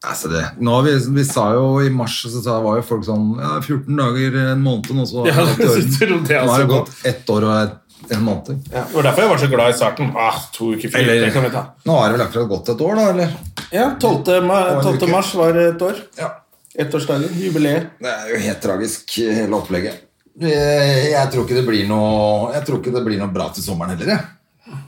Speaker 2: Altså det, nå har vi, vi sa jo i mars så sa, var jo folk sånn ja, 14 dager, en måned, og så har
Speaker 1: Ja,
Speaker 2: det gått i orden.
Speaker 1: så trodde jeg
Speaker 2: Nå har det
Speaker 1: også.
Speaker 2: gått ett år og et- en måned.
Speaker 1: Det var derfor jeg var så glad i starten. Ah, to uker fri,
Speaker 2: Eller-
Speaker 1: det kan vi ta.
Speaker 2: Nå har det vel akkurat gått et år, da? eller?
Speaker 1: Ja, 12. Ma
Speaker 2: Og en
Speaker 1: 12.
Speaker 2: uke.
Speaker 1: mars var det et år.
Speaker 2: Ja.
Speaker 1: Ettårsdagen. Jubileet.
Speaker 2: Det er jo helt tragisk, hele opplegget. Eh, Jeg tror ikke det blir noe, jeg tror ikke det blir noe bra til sommeren heller. Jeg.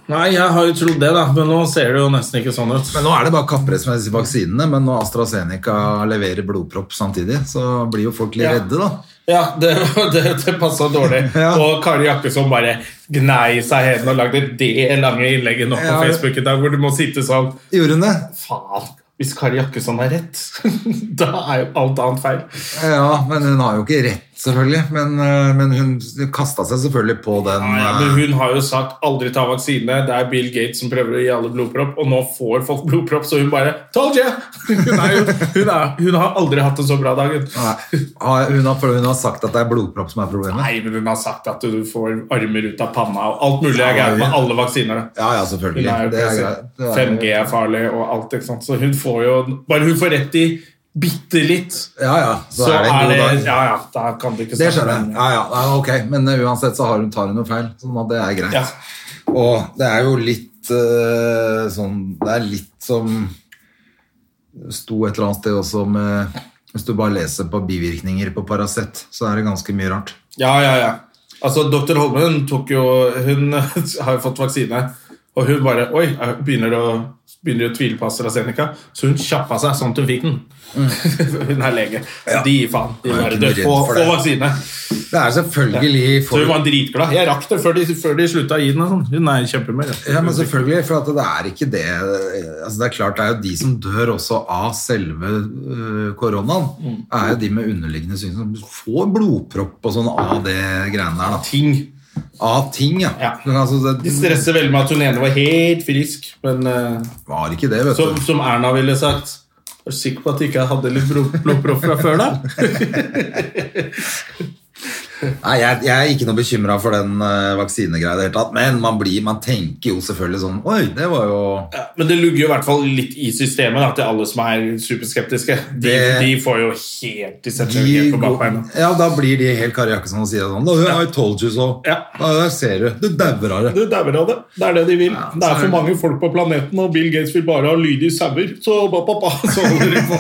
Speaker 1: Nei, jeg har jo trodd det, da, men nå ser det jo nesten ikke sånn ut.
Speaker 2: Men Nå er det bare kappress med disse vaksinene, men når AstraZeneca leverer blodpropp samtidig, så blir jo folk litt
Speaker 1: Ja.
Speaker 2: redde, da.
Speaker 1: Ja, det, det, det passa dårlig.
Speaker 2: Ja.
Speaker 1: Og Kari Jakkesson bare gnei seg i hendene og lagde det lange innlegget nå på
Speaker 2: Ja.
Speaker 1: Facebook i dag, hvor du må sitte sånn
Speaker 2: Gjorde hun det?
Speaker 1: Faen, hvis Kari Jakkesson har rett, da er jo alt annet feil.
Speaker 2: Ja, men hun har jo ikke rett, selvfølgelig. Men, eh, men hun kasta seg selvfølgelig på den eh,
Speaker 1: Ja, ja, men hun har jo sagt 'aldri ta vaksine', det er Bill Gates som prøver å gi alle blodpropp, og nå får folk blodpropp, så hun bare 'told you'! Hun, er jo, hun, er, hun har aldri hatt en så bra dag. hun.
Speaker 2: Nei, har- hun, har, for hun har sagt at det er blodpropp som er problemet.
Speaker 1: Nei, men hun har sagt at du får armer ut av panna, og alt mulig er gærent med alle vaksiner.
Speaker 2: Ja, ja,
Speaker 1: Hun
Speaker 2: selvfølgelig.
Speaker 1: er jo
Speaker 2: Det er
Speaker 1: president.
Speaker 2: greit. Det er-
Speaker 1: 5G er farlig og alt, ikke sant. Så hun får jo Bare hun får rett i bitte litt,
Speaker 2: Ja, ja. Så,
Speaker 1: så
Speaker 2: er det en god dag.
Speaker 1: Ja, ja, da kan du
Speaker 2: Det
Speaker 1: ikke snakke
Speaker 2: skjønner
Speaker 1: om
Speaker 2: jeg. Ja, ja, ja, ok. Men eh, uansett så har hun, tar hun noe feil, sånn at det er greit.
Speaker 1: Ja.
Speaker 2: Og det er jo litt eh, sånn Det er litt som sto et eller annet sted også med Hvis du bare leser på bivirkninger på Paracet, så er det ganske mye rart.
Speaker 1: Ja, ja, ja. Altså, Dr. Holmen tok jo Hun har jo fått vaksine, og hun bare Oi, jeg begynner å, begynner å tvile på AstraZeneca. Så hun kjappa seg sånn at hun fikk den. hun er lege. Så De gir faen. De
Speaker 2: Jeg er
Speaker 1: bare
Speaker 2: ikke
Speaker 1: dør.
Speaker 2: redd
Speaker 1: Få,
Speaker 2: for
Speaker 1: få
Speaker 2: det.
Speaker 1: vaksine.
Speaker 2: Det er selvfølgelig
Speaker 1: Så hun
Speaker 2: folk
Speaker 1: var dritglad. Jeg rakk det før de, før de slutta å gi den. og Sånn. Hun er kjempemør.
Speaker 2: Ja, men selvfølgelig, for at det er ikke det altså Det er klart det er jo de som dør også av selve øh, koronaen,
Speaker 1: Mm.
Speaker 2: er jo de med underliggende syn som får blodpropp og sånn av det greiene der. da.
Speaker 1: Ting.
Speaker 2: Av ting, ja.
Speaker 1: Ja.
Speaker 2: Men Altså,
Speaker 1: De
Speaker 2: det
Speaker 1: stresser veldig med at hun ene var helt frisk, men eh,
Speaker 2: var ikke det, vet
Speaker 1: som,
Speaker 2: du.
Speaker 1: som Erna ville sagt Er du sikker på at du ikke hadde litt blod- blodpropp fra før, da?
Speaker 2: Nei, jeg, jeg er ikke noe bekymra for den øh, vaksinegreia i det hele tatt, men man, blir, man tenker jo selvfølgelig sånn Oi, det var jo
Speaker 1: Ja, Men det lugger jo i hvert fall litt i systemet da, til alle som er superskeptiske. De,
Speaker 2: Det-
Speaker 1: de får jo helt De setter jo
Speaker 2: de,
Speaker 1: helt på bakbeina.
Speaker 2: ja, da blir de helt Kari Jakkesson og sier sånn I told you so.
Speaker 1: Ja.
Speaker 2: Der ser du. Du dauer av det.
Speaker 1: Det dauer av det. Det er det de vil.
Speaker 2: Ja,
Speaker 1: det er
Speaker 2: så-
Speaker 1: for mange folk på planeten, og Bill Gates vil bare ha lydige sauer. Så ba, ba, ba, så holder de på.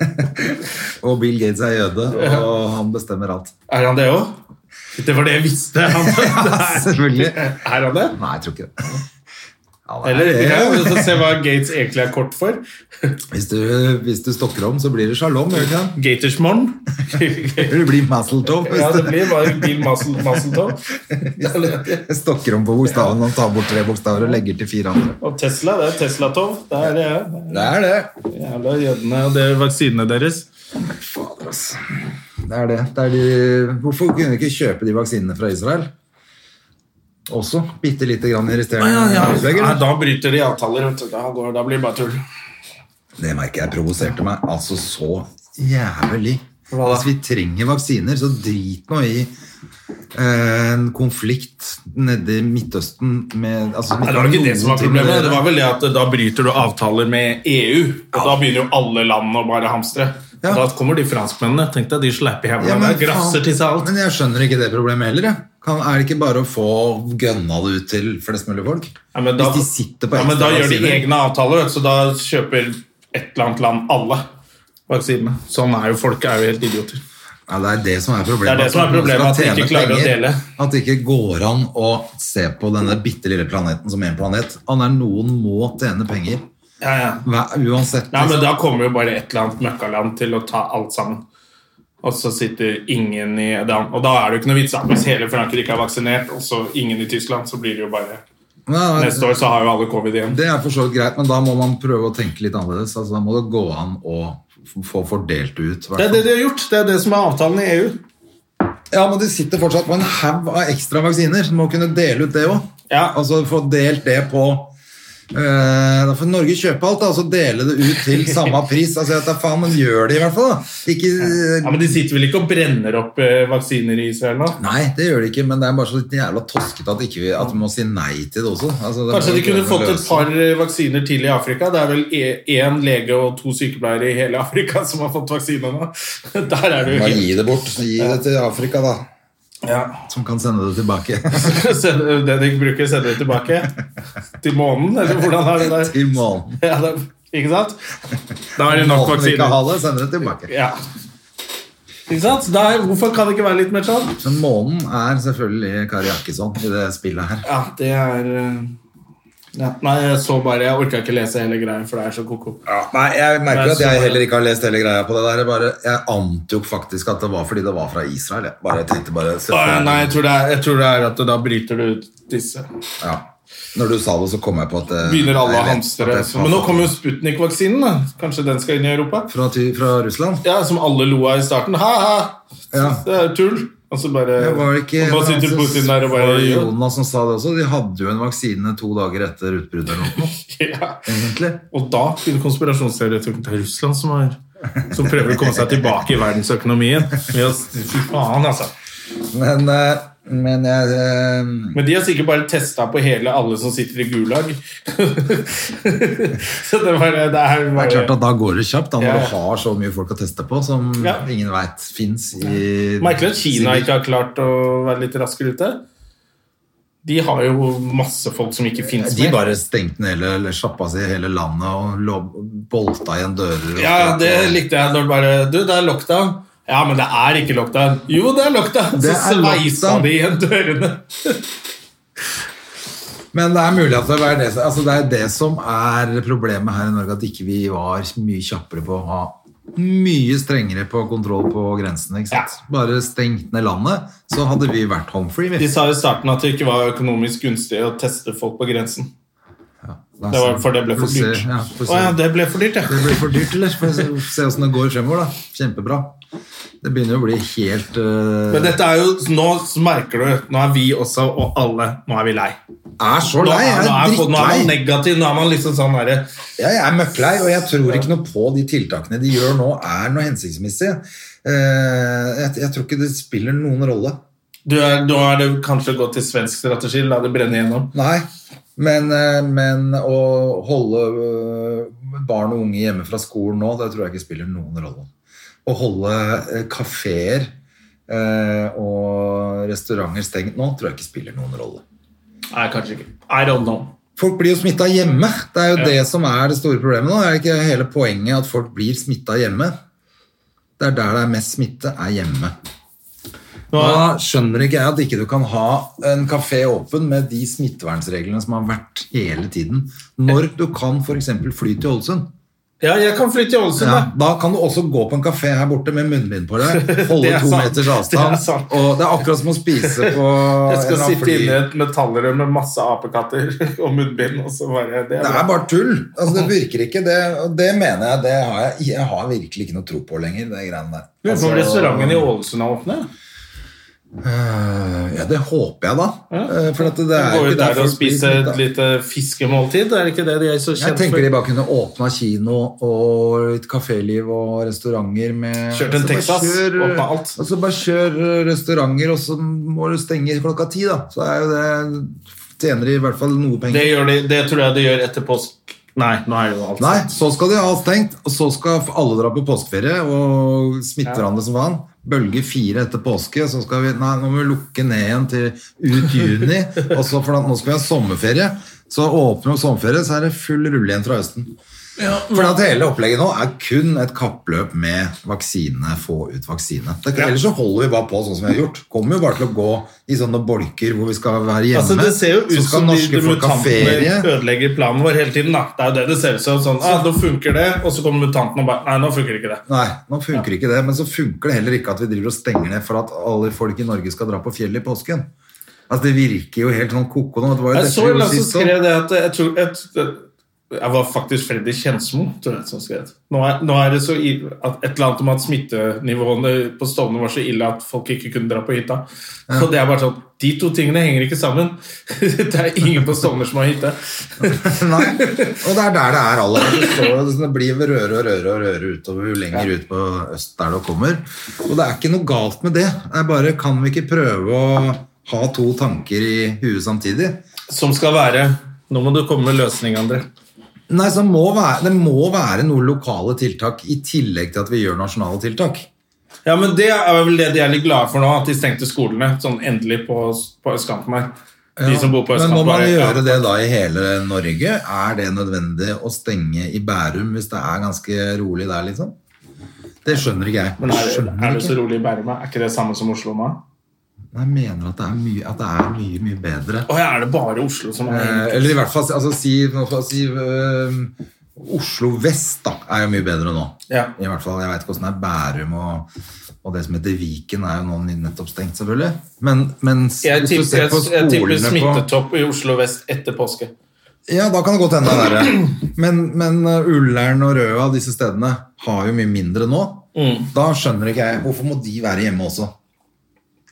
Speaker 2: Og Bill Gates er jøde, og han bestemmer alt.
Speaker 1: Er han det òg? Det var det jeg visste. Han,
Speaker 2: selvfølgelig.
Speaker 1: Er han det?
Speaker 2: Nei, jeg tror ikke det. Ja, det er
Speaker 1: Eller
Speaker 2: det.
Speaker 1: jeg vil også se hva Gates egentlig er kort for.
Speaker 2: Hvis, du, hvis du stokker om, så blir det sjalom. gjør det ikke det?
Speaker 1: Gatersmon.
Speaker 2: Eller det blir Masseltov hvis
Speaker 1: Ja, det blir bare Bill Muscle, Muscletov.
Speaker 2: du stokker om på bokstaven og tar bort tre bokstaver og legger til fire andre.
Speaker 1: Og Tesla, det er Tesla-tov. Det er det.
Speaker 2: Det er det.
Speaker 1: Jævla jødene og det er vaksinene deres.
Speaker 2: Fader, ass. Det er det. det er de, hvorfor kunne vi ikke kjøpe de vaksinene fra Israel? Også bitte lite grann irriterende. opplegger,
Speaker 1: Nei,
Speaker 2: da.
Speaker 1: da bryter de avtaler. vet du. Da, går, da blir det bare tull.
Speaker 2: Det merker jeg provoserte meg altså så jævlig.
Speaker 1: Hva da?
Speaker 2: Hvis vi trenger vaksiner, så drit nå i eh, en konflikt nede i Midtøsten med altså,
Speaker 1: Nei, det var ikke det som var
Speaker 2: noen ting med
Speaker 1: problemet. Det
Speaker 2: der.
Speaker 1: var vel det at Da bryter du avtaler med EU, og da begynner jo alle land å bare hamstre.
Speaker 2: Ja.
Speaker 1: Og Da kommer de franskmennene. Tenk deg de slappe
Speaker 2: Ja,
Speaker 1: jævla
Speaker 2: men
Speaker 1: der. Grasser
Speaker 2: faen.
Speaker 1: til seg alt.
Speaker 2: Men jeg skjønner ikke det problemet heller. Jeg. Kan, er det ikke bare å få gønna det ut til flest mulig folk?
Speaker 1: Ja, men da,
Speaker 2: Hvis de sitter på
Speaker 1: ja, men da
Speaker 2: ekstra
Speaker 1: gjør de
Speaker 2: vaksiner.
Speaker 1: egne avtaler, vet du, så da kjøper et eller annet land alle vaksinene. Sånn er jo folket. er jo helt idioter.
Speaker 2: Ja, det er det som er problemet.
Speaker 1: Det er det som er
Speaker 2: At noen
Speaker 1: problemet,
Speaker 2: skal
Speaker 1: at de ikke
Speaker 2: tjene
Speaker 1: klarer å
Speaker 2: penger,
Speaker 1: dele.
Speaker 2: At det ikke går an å se på denne bitte lille planeten som én planet. Han er noen må tjene penger.
Speaker 1: Ja, ja.
Speaker 2: Hva- Uansett.
Speaker 1: Nei, men da kommer jo bare et eller annet møkkaland til å ta alt sammen. Og så sitter ingen i da- Og da er det jo ikke noe vits da. hvis hele Frankrike er vaksinert, og så ingen i Tyskland, så blir det jo bare
Speaker 2: Ja,
Speaker 1: Neste år så har jo alle covid igjen.
Speaker 2: Det er for så vidt greit, men da må man prøve å tenke litt annerledes. Altså, da må det gå an å f- få fordelt ut.
Speaker 1: Det er det de har gjort. Det er det som er avtalen i E EU.
Speaker 2: Ja, men de sitter fortsatt på en haug av ekstra vaksiner. Du må kunne dele ut det òg.
Speaker 1: Ja.
Speaker 2: Altså få delt det på eh, Da får Norge kjøpe alt, da, og så dele det ut til samme pris. Altså, jeg tar faen, men gjør det i hvert fall, da. Ikke
Speaker 1: Ja, Men de sitter vel ikke og brenner opp eh, vaksiner i Israel nå?
Speaker 2: Nei, det gjør det ikke, men det er bare så jævla toskete at, ikke vi, at vi må si nei til det også. Altså, det
Speaker 1: Kanskje
Speaker 2: må
Speaker 1: de
Speaker 2: vi
Speaker 1: kunne
Speaker 2: prøve å
Speaker 1: fått et
Speaker 2: løse.
Speaker 1: par eh, vaksiner til i Afrika? Det er vel e- én lege og to sykepleiere i hele Afrika som har fått vaksine nå. Der er det jo
Speaker 2: Bare
Speaker 1: helt
Speaker 2: gi det bort. Gi det til Afrika, da.
Speaker 1: ja.
Speaker 2: Som kan sende det tilbake.
Speaker 1: Send- Det de ikke bruker, sender de tilbake til månen, eller hvordan er det der?
Speaker 2: til månen.
Speaker 1: Ja, det, ikke sant? Da er det nok
Speaker 2: Måten vi ikke
Speaker 1: vaksiner.
Speaker 2: har det, sender det tilbake.
Speaker 1: Ja. Ikke sant? Da, er- hvorfor kan det ikke være litt mer sånn?
Speaker 2: Men månen er selvfølgelig Kari Jakkesson i det spillet her.
Speaker 1: Ja, det er eh, ja. Nei, jeg så bare Jeg orka ikke lese hele greia, for det er så ko-ko.
Speaker 2: Nei, Jeg merker
Speaker 1: Nei,
Speaker 2: at jeg
Speaker 1: så-
Speaker 2: heller ikke har lest hele greia på det der. Jeg, bare, jeg ante jo faktisk at det var fordi det var fra Israel. Jeg bare tenkte bare
Speaker 1: Å, Nei, jeg tror, det er, jeg tror det er at da bryter du ut disse.
Speaker 2: Ja. Når du sa det, så kom jeg på at det,
Speaker 1: Begynner alle
Speaker 2: jeg
Speaker 1: å
Speaker 2: vet at
Speaker 1: hamstre.
Speaker 2: det var
Speaker 1: Men nå
Speaker 2: fra-
Speaker 1: kommer jo Sputnik-vaksinen. da. Kanskje den skal inn i Europa?
Speaker 2: fra, Ty- fra Russland?
Speaker 1: Ja, Som alle lo av i starten. Ha-ha!
Speaker 2: Ja.
Speaker 1: Det er tull. Og så bare
Speaker 2: Det var ikke
Speaker 1: Og nå sitter Putin der og bare
Speaker 2: var det
Speaker 1: ja.
Speaker 2: Jonas som sa det også. De hadde jo en vaksine to dager etter utbruddet eller noe, egentlig.
Speaker 1: Og da begynner konspirasjonsteoretikeren til Russland, som, er, som prøver å komme seg tilbake i verdensøkonomien. Ved å- Fy faen, altså.
Speaker 2: Men, eh, men jeg eh,
Speaker 1: Men de har sikkert bare testa på hele alle som sitter i Gulag. så det, bare, det er
Speaker 2: Det er
Speaker 1: bare
Speaker 2: klart at da går det kjapt, da, når
Speaker 1: Ja, ja.
Speaker 2: du har så mye folk å teste på som
Speaker 1: Ja.
Speaker 2: ingen veit fins i
Speaker 1: Merkelig at Kina
Speaker 2: Sibir.
Speaker 1: ikke har klart å være litt raskere ute. De har jo masse folk som ikke fins
Speaker 2: De
Speaker 1: mer.
Speaker 2: bare stengte ned hele eller sjappa si i hele landet og lov, bolta igjen dører. og-
Speaker 1: Ja, det likte jeg når det bare Du, det er lockdown. Ja, men det er ikke lockdown. Jo, det er lockdown!
Speaker 2: Det
Speaker 1: så
Speaker 2: er
Speaker 1: sveisa
Speaker 2: lockdown.
Speaker 1: de igjen dørene.
Speaker 2: Men det er mulig at det er det, som- altså det er det som er problemet her i Norge, at ikke vi var mye kjappere på å ha mye strengere på kontroll på grensene. Ikke sant? Bare stengt ned landet, så hadde vi vært home free.
Speaker 1: De
Speaker 2: Vi.
Speaker 1: sa i starten at det ikke var økonomisk gunstig å teste folk på grensen. Det var, for det ble for
Speaker 2: Får
Speaker 1: dyrt.
Speaker 2: se, Ja, får
Speaker 1: Å ja,
Speaker 2: se.
Speaker 1: det ble for dyrt, ja.
Speaker 2: Det blir for dyrt, eller? Får se se hvordan det går fremover, da. Kjempebra. Det begynner å bli helt eh,
Speaker 1: Men dette er jo, nå merker du Nå er vi også, og alle, nå er vi lei.
Speaker 2: er så
Speaker 1: Nå
Speaker 2: lei!
Speaker 1: er,
Speaker 2: Jeg
Speaker 1: nå er,
Speaker 2: er
Speaker 1: nå er man
Speaker 2: drittlei.
Speaker 1: negativ. Nå er man liksom sånn derre
Speaker 2: Ja, jeg er møkklei, og jeg tror ikke noe på de tiltakene de gjør nå, er noe hensiktsmessig. Eh, Jeg, jeg tror ikke det spiller noen rolle.
Speaker 1: du er- Nå er det kanskje gått til svensk strategi, la det brenne gjennom.
Speaker 2: Nei. Men, eh, men å holde eh, barn og unge hjemme fra skolen nå, det tror jeg ikke spiller noen rolle. Å holde eh, kafeer eh, og restauranter stengt nå, tror jeg ikke spiller noen rolle.
Speaker 1: Nei, kanskje ikke. I don't know.
Speaker 2: Folk blir jo smitta hjemme. Det er jo
Speaker 1: Ja.
Speaker 2: det som er det store problemet nå. Er det ikke hele poenget at folk blir smitta hjemme? Det er der det er mest smitte, er hjemme.
Speaker 1: Nå
Speaker 2: Da
Speaker 1: er,
Speaker 2: skjønner ikke jeg at ikke du kan ha en kafé åpen med de smittevernreglene som har vært hele tiden. Når du kan f.eks. fly til Ålesund.
Speaker 1: ja, jeg kan flytte til Ålesund,
Speaker 2: Ja,
Speaker 1: da.
Speaker 2: da kan du også gå på en kafé her borte med munnbind på deg, holde
Speaker 1: Det er
Speaker 2: to
Speaker 1: sant.
Speaker 2: meters
Speaker 1: Det er
Speaker 2: avstand.
Speaker 1: sant.
Speaker 2: og det er akkurat som å spise på
Speaker 1: Jeg
Speaker 2: en
Speaker 1: skal
Speaker 2: eller annen
Speaker 1: sitte
Speaker 2: fly-
Speaker 1: inne i et metallrør med masse apekatter og munnbind. Og så bare, det er
Speaker 2: Det
Speaker 1: bra.
Speaker 2: er bare tull. Altså, det virker ikke. Det, og det mener jeg. Det har jeg, jeg har virkelig ikke noe tro på lenger, det greiene der. Altså,
Speaker 1: Lurer på om restauranten i Ålesund er åpne.
Speaker 2: Øh, Ja, det håper jeg, da. Øh, For at det, det er
Speaker 1: Gå
Speaker 2: jo
Speaker 1: ut
Speaker 2: ikke
Speaker 1: der og
Speaker 2: folk blir
Speaker 1: spise et
Speaker 2: smittet.
Speaker 1: lite fiskemåltid. Er det ikke det de er så
Speaker 2: Jeg
Speaker 1: kjent
Speaker 2: tenker
Speaker 1: for?
Speaker 2: de bare kunne åpna kino og litt kaféliv og restauranter med
Speaker 1: Kjørt en
Speaker 2: Så bare
Speaker 1: Texas,
Speaker 2: kjør-
Speaker 1: åpna alt.
Speaker 2: Og så bare kjør øh, restauranter, og så må du stenge klokka ti, da. Så er jo det Tjener de i hvert fall noe penger.
Speaker 1: Det, gjør de, det tror jeg de gjør etter påsk. Nei, nå er jo alt
Speaker 2: Nei, så skal de ha stengt, og så skal alle dra på påskeferie og smitte hverandre som faen. Bølge fire etter påske, så skal vi Nei, nå må vi lukke ned igjen til ut juni. og så for at nå skal vi ha sommerferie. Så åpner vi sommerferie, så er det full rulle igjen fra høsten. For at hele opplegget nå er kun et kappløp med vaksine, få ut vaksine. Det,
Speaker 1: Ja.
Speaker 2: Ellers så holder vi bare på sånn som vi har gjort. Kommer jo bare til å gå i sånne bolker hvor vi skal være hjemme.
Speaker 1: Altså, det ser jo ut
Speaker 2: så skal
Speaker 1: som de
Speaker 2: norske folk ha
Speaker 1: mutantene
Speaker 2: ferie.
Speaker 1: ødelegger planen vår hele tiden. Da. Det er jo det det ser ut som. Sånn, ah, nå funker det, og så kommer mutantene og bare Nei, nå funker ikke det.
Speaker 2: Nei, nå funker ikke det, men så funker det heller ikke at vi driver og stenger ned for at alle folk i Norge skal dra på fjellet i påsken. Altså, det virker jo helt sånn koko nå. Det var jo
Speaker 1: Jeg
Speaker 2: dette vi
Speaker 1: så en
Speaker 2: gjorde
Speaker 1: som
Speaker 2: sist også.
Speaker 1: skrev det at jeg tror et, Jeg var faktisk Freddy Kjensmo tror jeg, som skrev det. Nå er, nå er det så ille at et eller annet om at smittenivåene på Stovner var så ille at folk ikke kunne dra på hytta. Så det er bare sånn De to tingene henger ikke sammen. det er ingen på Stovner som har hytte.
Speaker 2: Nei, og det er der det er aller Det, står, jo- liksom, det blir røre og røre og røre utover jo lenger ut på øst der det kommer. Og det er ikke noe galt med det. Det er bare kan vi ikke prøve å ha to tanker i huet samtidig?
Speaker 1: Som skal være Nå må du komme med løsning, André.
Speaker 2: Nei, så må være, Det må være noen lokale tiltak i tillegg til at vi gjør nasjonale tiltak.
Speaker 1: Ja, men Det er vel det de er litt glade for nå, at de stengte skolene sånn endelig på, på østkanten her. De som bor på
Speaker 2: Men må
Speaker 1: østkanten
Speaker 2: man
Speaker 1: bare, ja.
Speaker 2: gjøre det da i hele Norge? Er det nødvendig å stenge i Bærum hvis det er ganske rolig der, liksom? Det skjønner ikke jeg.
Speaker 1: Men er,
Speaker 2: Skjønner
Speaker 1: er det
Speaker 2: ikke.
Speaker 1: så rolig i Bærum? da? Er ikke det samme som Oslo nå?
Speaker 2: Jeg mener at det er mye, at det er mye, mye bedre.
Speaker 1: Å, ja, er det bare Oslo som er
Speaker 2: Eh, eller i hvert fall altså, si, altså, si eh, Oslo vest da, er jo mye bedre nå.
Speaker 1: Ja.
Speaker 2: I hvert fall, Jeg veit ikke åssen det er Bærum og, og det som heter Viken, er jo nå nettopp stengt, selvfølgelig. Men, men s-
Speaker 1: Jeg
Speaker 2: hvis du
Speaker 1: tipper,
Speaker 2: ser på
Speaker 1: jeg, jeg tipper
Speaker 2: skolene på-
Speaker 1: smittetopp i Oslo vest etter påske.
Speaker 2: Ja, da kan det godt hende det er verre. Men, men uh, Ullern og Røa, disse stedene, har jo mye mindre nå.
Speaker 1: Mm.
Speaker 2: Da skjønner ikke jeg Hvorfor må de være hjemme også?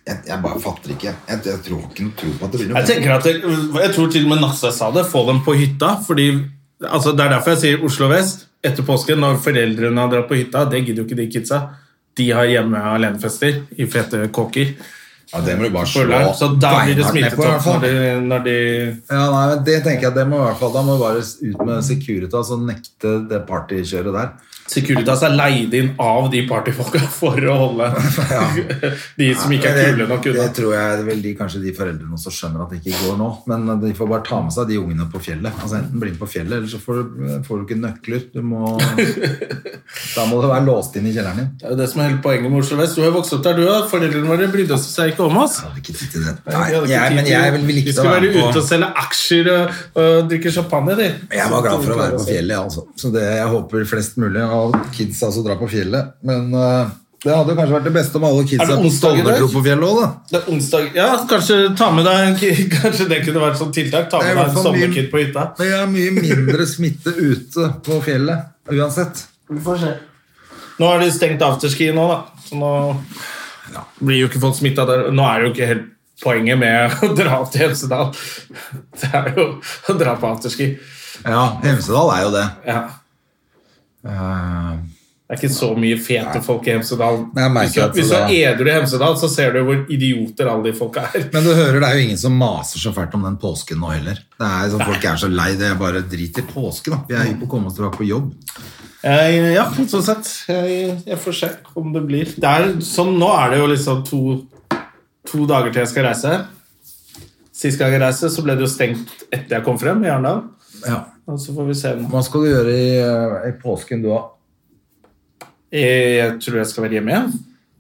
Speaker 2: Jeg, jeg bare fatter ikke. Jeg, jeg tror ikke noe tro på at det blir noe
Speaker 1: Jeg tenker at jeg, jeg tror til og med Nasse sa det. Få dem på hytta. Fordi, altså, det er derfor jeg sier Oslo vest etter påske. Når foreldrene har dratt på hytta, det gidder jo ikke de kidsa. De har hjemme alenefester i fete kåker.
Speaker 2: Ja, det må du bare
Speaker 1: på Ullern. Så da blir det
Speaker 2: beinhardt ned på, i hvert
Speaker 1: smittetopp
Speaker 2: fall.
Speaker 1: når de, når de
Speaker 2: Ja, nei, men det tenker jeg, det må i hvert fall, Da må vi bare ut med Securitas og nekte det partykjøret der.
Speaker 1: Securitas er leid inn av de partyfolka for å holde de som ikke er kule nok
Speaker 2: Det
Speaker 1: unna.
Speaker 2: tror jeg vel de, kanskje de foreldrene også skjønner at det ikke går nå. Men eh, de får bare ta med seg de ungene på fjellet. Altså Enten bli med på fjellet, eller så får du, får du ikke nøkler. Du må, da må du være låst inn i kjelleren din.
Speaker 1: Det er jo det som er hele poenget med Oslo vest. Du har jo vokst opp der, du òg. Foreldrene våre brydde seg ikke om oss.
Speaker 2: Jeg hadde ikke tid til det.
Speaker 1: Nei,
Speaker 2: Nei, jeg, men jeg vil, vil
Speaker 1: De
Speaker 2: ikke
Speaker 1: skulle
Speaker 2: være med
Speaker 1: være ute og
Speaker 2: på
Speaker 1: selge aksjer og, og drikke champagne, de.
Speaker 2: jeg var glad for å være på fjellet, jeg, altså. Så det jeg håper flest mulig av kidsa som drar på fjellet. Men eh, det hadde jo kanskje vært det beste om alle
Speaker 1: Er det
Speaker 2: kidsa på
Speaker 1: onsdag i dag?
Speaker 2: Stovner dro på fjellet òg, da.
Speaker 1: Det er onsdag. Ja, kanskje ta med deg Kanskje det kunne vært sånn tiltak. Ta
Speaker 2: Det er i
Speaker 1: med deg
Speaker 2: hvert
Speaker 1: en
Speaker 2: fall mye-
Speaker 1: sommerkid på hytta.
Speaker 2: Det er mye mindre smitte ute på fjellet, uansett.
Speaker 1: Vi får se. Nå har de stengt afterski nå, da. Så nå blir jo ikke folk smitta der. Nå er det jo ikke helt poenget med å dra til Hemsedal. Det er jo å dra på afterski.
Speaker 2: Ja, Hemsedal er jo det. Eh,
Speaker 1: Ja. Det er ikke så mye fete folk i Hemsedal.
Speaker 2: Nei, jeg merker
Speaker 1: Hvis du-
Speaker 2: at det
Speaker 1: Hvis du er
Speaker 2: da-
Speaker 1: edru i Hemsedal, så ser du hvor idioter alle de folka er.
Speaker 2: Men du hører, det er jo ingen som maser så fælt om den påsken nå heller. Det er sånn, Folk er så lei det. er Bare drit i påsken, da. Vi er jo på å komme oss tilbake på jobb.
Speaker 1: Jeg, ja, sånn sett. Jeg, jeg får se om det blir det er, sånn, Nå er det jo liksom to, to dager til jeg skal reise. Sist gang jeg reiste, så ble det jo stengt etter jeg kom frem i Arendal.
Speaker 2: Ja.
Speaker 1: Og så får vi se. nå.
Speaker 2: Hva skal du gjøre i, eh, i påsken, du, da?
Speaker 1: Jeg, Eh, jeg tror jeg skal være hjemme igjen.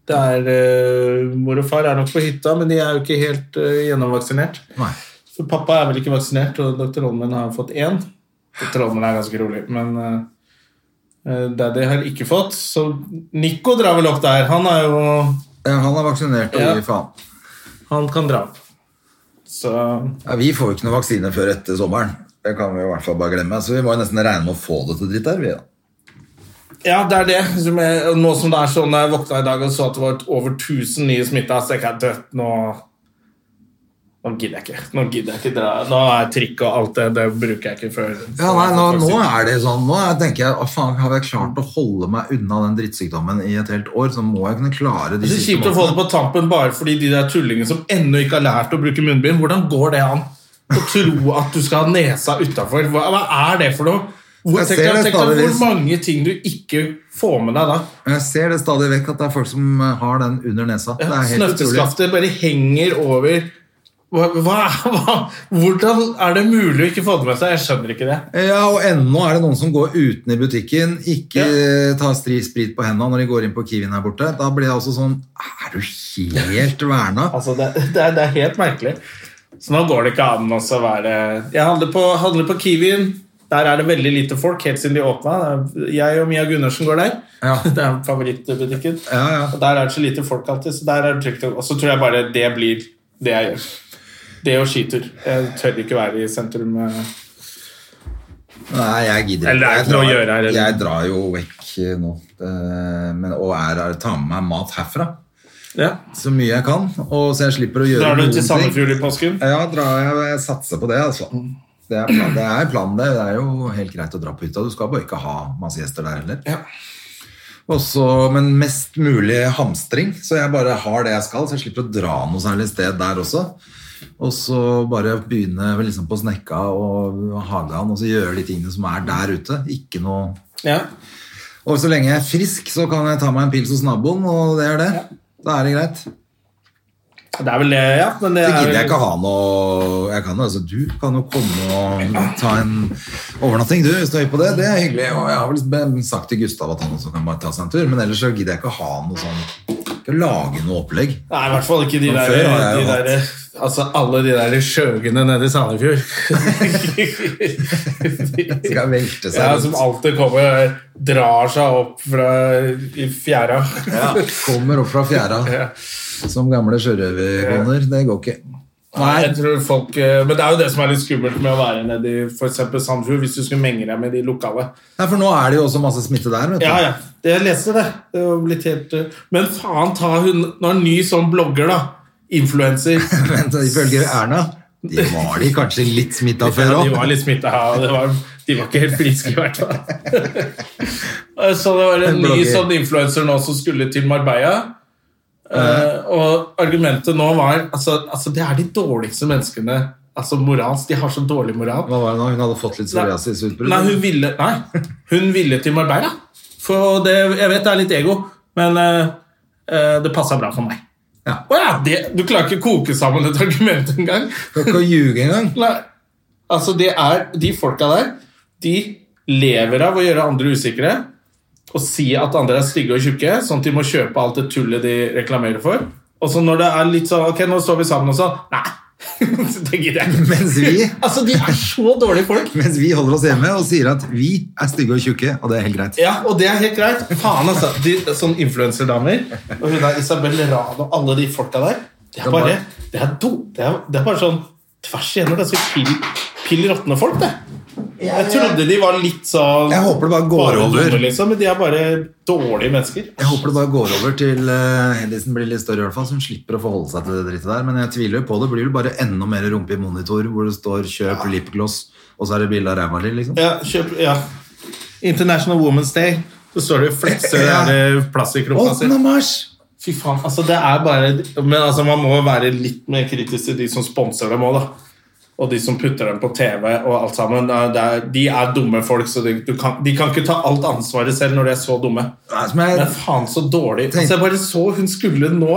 Speaker 1: Det er, eh, mor og far er nok på hytta, men de er jo ikke helt eh, gjennomvaksinert.
Speaker 2: Nei.
Speaker 1: For pappa er vel ikke vaksinert, og dr. Holmen har fått én. Dr. Holmen er ganske rolig, men eh, eh, daddy har ikke fått. Så Nico drar vel opp der. Han er jo
Speaker 2: Ja, Eh, han er vaksinert, og
Speaker 1: Ja.
Speaker 2: vi faen.
Speaker 1: Han kan dra opp. Så
Speaker 2: Ja, vi får jo ikke noe vaksine før etter sommeren. Det kan vi jo i hvert fall bare glemme. Så vi må jo nesten regne med å få det til dritt der, vi, da.
Speaker 1: Ja, det er det. Som jeg, og nå som det er sånn, jeg våkna i dag og så at det var over 1000 nye smitta, så jeg kan dødt nå Nå gidder jeg ikke. Nå gidder jeg ikke dra. Nå er trikk og alt det, det bruker jeg ikke før.
Speaker 2: Ja, nei, nå, nå er det sånn. Nå er- tenker jeg, å faen, Har jeg klart å holde meg unna den drittsykdommen i et helt år, så må jeg kunne klare de
Speaker 1: Det er så
Speaker 2: siste
Speaker 1: kjipt å få det
Speaker 2: månedene.
Speaker 1: på tampen bare fordi de der tullingene som ennå ikke har lært å bruke munnbind. Hvordan går det an å tro at du skal ha nesa utafor? Hva, hva er det for noe? Hvor,
Speaker 2: Jeg
Speaker 1: tenk,
Speaker 2: ser
Speaker 1: deg-
Speaker 2: det
Speaker 1: tenk deg hvor
Speaker 2: stadigvis.
Speaker 1: mange ting du ikke får med deg da.
Speaker 2: Men Jeg ser det stadig vekk at det er folk som eh, har den under nesa. Det er helt utrolig.
Speaker 1: Snøfteskaftet bare henger over Hva, hva, hva, hvordan er det mulig å ikke få det med seg? Jeg skjønner ikke det.
Speaker 2: Ja, og ennå er det noen som går uten i butikken, ikke tar stri sprit på hendene når de går inn på Kiwien her borte. Da blir jeg også sånn Er du helt verna?
Speaker 1: Altså, det, det, er, det er helt merkelig. Så nå går det ikke an også å være Jeg handler på, handler på Kiwien. Der er det veldig lite folk, helt siden de åpna. Jeg og Mia Gundersen går der.
Speaker 2: Ja.
Speaker 1: Det er favorittbutikken.
Speaker 2: Ja, ja.
Speaker 1: Og der er det så lite folk alltid, så der er det trygt. å- Og så tror jeg bare det blir det jeg gjør. Det og skitur. Jeg tør ikke være i sentrum. eh.
Speaker 2: Nei, jeg gidder
Speaker 1: Eller det er
Speaker 2: Jeg
Speaker 1: ikke noe å
Speaker 2: drar-
Speaker 1: gjøre her, eller?
Speaker 2: Jeg drar jo vekk eh, nå. eh, Men, og er, er, tar med meg mat herfra
Speaker 1: Ja.
Speaker 2: så mye jeg kan. Og så jeg slipper å gjøre
Speaker 1: Drar du
Speaker 2: noen
Speaker 1: til
Speaker 2: ting.
Speaker 1: Sandefjord i påsken?
Speaker 2: Ja, drar jeg, jeg satser på det, altså. Det er, plan, det er planen, det. Det er jo helt greit å dra på hytta. Du skal bare ikke ha masse gjester der heller.
Speaker 1: Ja.
Speaker 2: Og så- men mest mulig hamstring, så jeg bare har det jeg skal. Så jeg slipper å dra noe særlig sted der også. Og så bare begynne liksom på snekka og hagan og så gjøre de tingene som er der ute. Ikke noe
Speaker 1: Ja.
Speaker 2: Og så lenge jeg er frisk, så kan jeg ta meg en pils hos naboen, og det er det. Da er det greit.
Speaker 1: Det er vel det, ja. Men det
Speaker 2: Det
Speaker 1: er
Speaker 2: gidder jeg
Speaker 1: vel,
Speaker 2: ikke ha noe jeg kan, jo, altså, Du kan jo komme og ta en overnatting, du, hvis du er høy på det. Det er hyggelig. Og jeg har vel be- sagt til Gustav at han også kan bare ta seg en tur, men ellers så gidder jeg ikke ha noe sånn Ikke lage noe opplegg.
Speaker 1: Nei, i hvert fall ikke de
Speaker 2: Som
Speaker 1: der,
Speaker 2: før har jeg
Speaker 1: de
Speaker 2: jo hatt.
Speaker 1: der Altså alle de der skjøgene nede i Sandefjord.
Speaker 2: Skal velte seg
Speaker 1: ja,
Speaker 2: rundt.
Speaker 1: som alltid kommer og drar seg opp fra i fjæra.
Speaker 2: Kommer opp fra fjæra
Speaker 1: Ja.
Speaker 2: som gamle sjørøverkoner. Det går ikke.
Speaker 1: Jeg tror folk, eh, men det er jo det som er litt skummelt med å være nede i for eksempel Sandefjord, hvis du skulle menge deg med de lokale.
Speaker 2: Nei, for nå er det jo også masse smitte der, vet du.
Speaker 1: Ja, ja, jeg leste det. det var blitt helt, eh, men faen ta hun Når en ny sånn blogger, da, influenser
Speaker 2: Men ifølge Erna de var de kanskje litt smitta før
Speaker 1: Ja, de
Speaker 2: òg.
Speaker 1: var litt smitta, og det var, de var ikke helt friske i hvert fall. så det var en
Speaker 2: En
Speaker 1: ny
Speaker 2: blogger.
Speaker 1: sånn influenser nå som skulle til Marbella. Eh, og argumentet nå var altså, altså, det er de dårligste menneskene Altså moralsk. De har så dårlig moral.
Speaker 2: Hva var det nå? Hun hadde fått litt psoriasisutbrudd?
Speaker 1: Nei, hun ville, nei, hun ville til Marbella. For det, jeg vet det er litt ego, men eh, eh, det passa bra for meg.
Speaker 2: Ja.
Speaker 1: Å ja, det, du klarer ikke å koke sammen et argument engang.
Speaker 2: Skal ikke ljuge engang.
Speaker 1: Nei. Altså, det er, de folka der, de lever av å gjøre andre usikre og si at andre er stygge og tjukke, sånn at de må kjøpe alt det tullet de reklamerer for. Og så når det er litt sånn Ok, nå står vi sammen også. Nei! det gidder jeg ikke.
Speaker 2: Mens vi
Speaker 1: Altså, de er så dårlige folk.
Speaker 2: Mens vi holder oss hjemme og sier at vi er stygge og tjukke, og det er helt greit.
Speaker 1: Ja, og det er helt greit. Faen, altså. De, sånn influenserdamer. Og hun der Isabel Rad og alle de folka der. Det er bare, det er do, det er, det er bare sånn tvers igjennom ganske pill, pill råtne folk, det. Jeg trodde de var litt sånn
Speaker 2: Jeg håper det bare går over.
Speaker 1: dumme, liksom, men de er bare dårlige mennesker.
Speaker 2: Jeg håper det bare går over til eh, Hedisen blir litt større, i hvert fall, så hun slipper å forholde seg til det drittet der. Men jeg tviler jo på det. Blir det bare enda mer rumpe i monitor hvor det står 'kjøp lipgloss', og så er det bilde av ræva di, liksom?
Speaker 1: Ja, kjøp, ja. International Women's Day. Så står det og flekser eh,
Speaker 2: Ja.
Speaker 1: ja. plastikkrumpa si.
Speaker 2: 8. mars!
Speaker 1: Fy faen, altså det er bare Men altså man må være litt mer kritisk til de som sponser dem òg, da. Og de som putter dem på TV og alt sammen. Nei, Det er, de er dumme folk, så de, du kan, de kan ikke ta alt ansvaret selv når de er så dumme.
Speaker 2: Nei, som jeg-
Speaker 1: Men faen så dårlig.
Speaker 2: Tenk-
Speaker 1: Altså jeg bare så hun skulle nå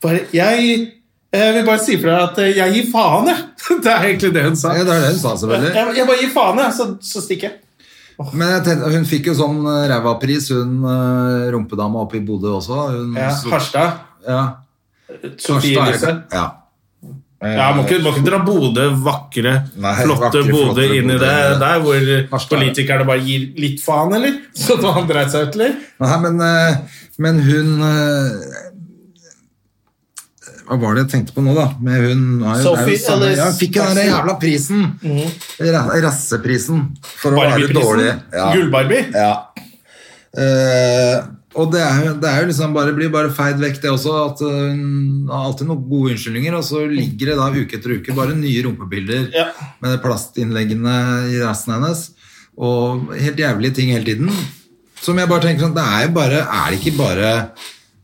Speaker 1: bare, jeg, jeg vil bare si fra deg at jeg gir faen, jeg. Det er egentlig det hun sa.
Speaker 2: Ja, det er det hun sa,
Speaker 1: Jeg,
Speaker 2: selvfølgelig.
Speaker 1: jeg bare gir faen, jeg, så, så stikker jeg.
Speaker 2: Men jeg tenkte, hun fikk jo sånn eh, ræva-pris, hun eh, rumpedama oppe i Bodø også. Hun,
Speaker 1: Ja,
Speaker 2: Mm, så-
Speaker 1: Harstad.
Speaker 2: ja,
Speaker 1: Sofie
Speaker 2: Harstad er
Speaker 1: Elise.
Speaker 2: det- Ja.
Speaker 1: Ja, Må ikke, må ikke dra Bodø, vakre,
Speaker 2: Eh, Nei,
Speaker 1: flotte
Speaker 2: vakre,
Speaker 1: Bodø,
Speaker 2: flotte
Speaker 1: inn i det
Speaker 2: Bodø.
Speaker 1: der hvor
Speaker 2: Harstad.
Speaker 1: politikerne bare gir litt faen, eller? Så da han dreit seg ut, eller?
Speaker 2: Nei, men, eh, men hun eh, Hva var det jeg tenkte på nå, da? Med hun nei, det er jo
Speaker 1: Sophie
Speaker 2: samme-
Speaker 1: Ellis
Speaker 2: ja, hun fikk jo den der
Speaker 1: Jackson.
Speaker 2: jævla prisen! Ra- Rasseprisen. For å være dårlig.
Speaker 1: Barbie-prisen? Gull-Barbie?
Speaker 2: Ja. Eh, og det er, jo- det er jo liksom bare, blir bare feid vekk, det også. At eh, hun har alltid noen gode unnskyldninger, og så ligger det da uke etter uke bare nye rumpebilder
Speaker 1: Ja.
Speaker 2: med plastinnleggene i rassen hennes. Og helt jævlige ting hele tiden. Som jeg bare tenker sånn, det er jo bare Er det ikke bare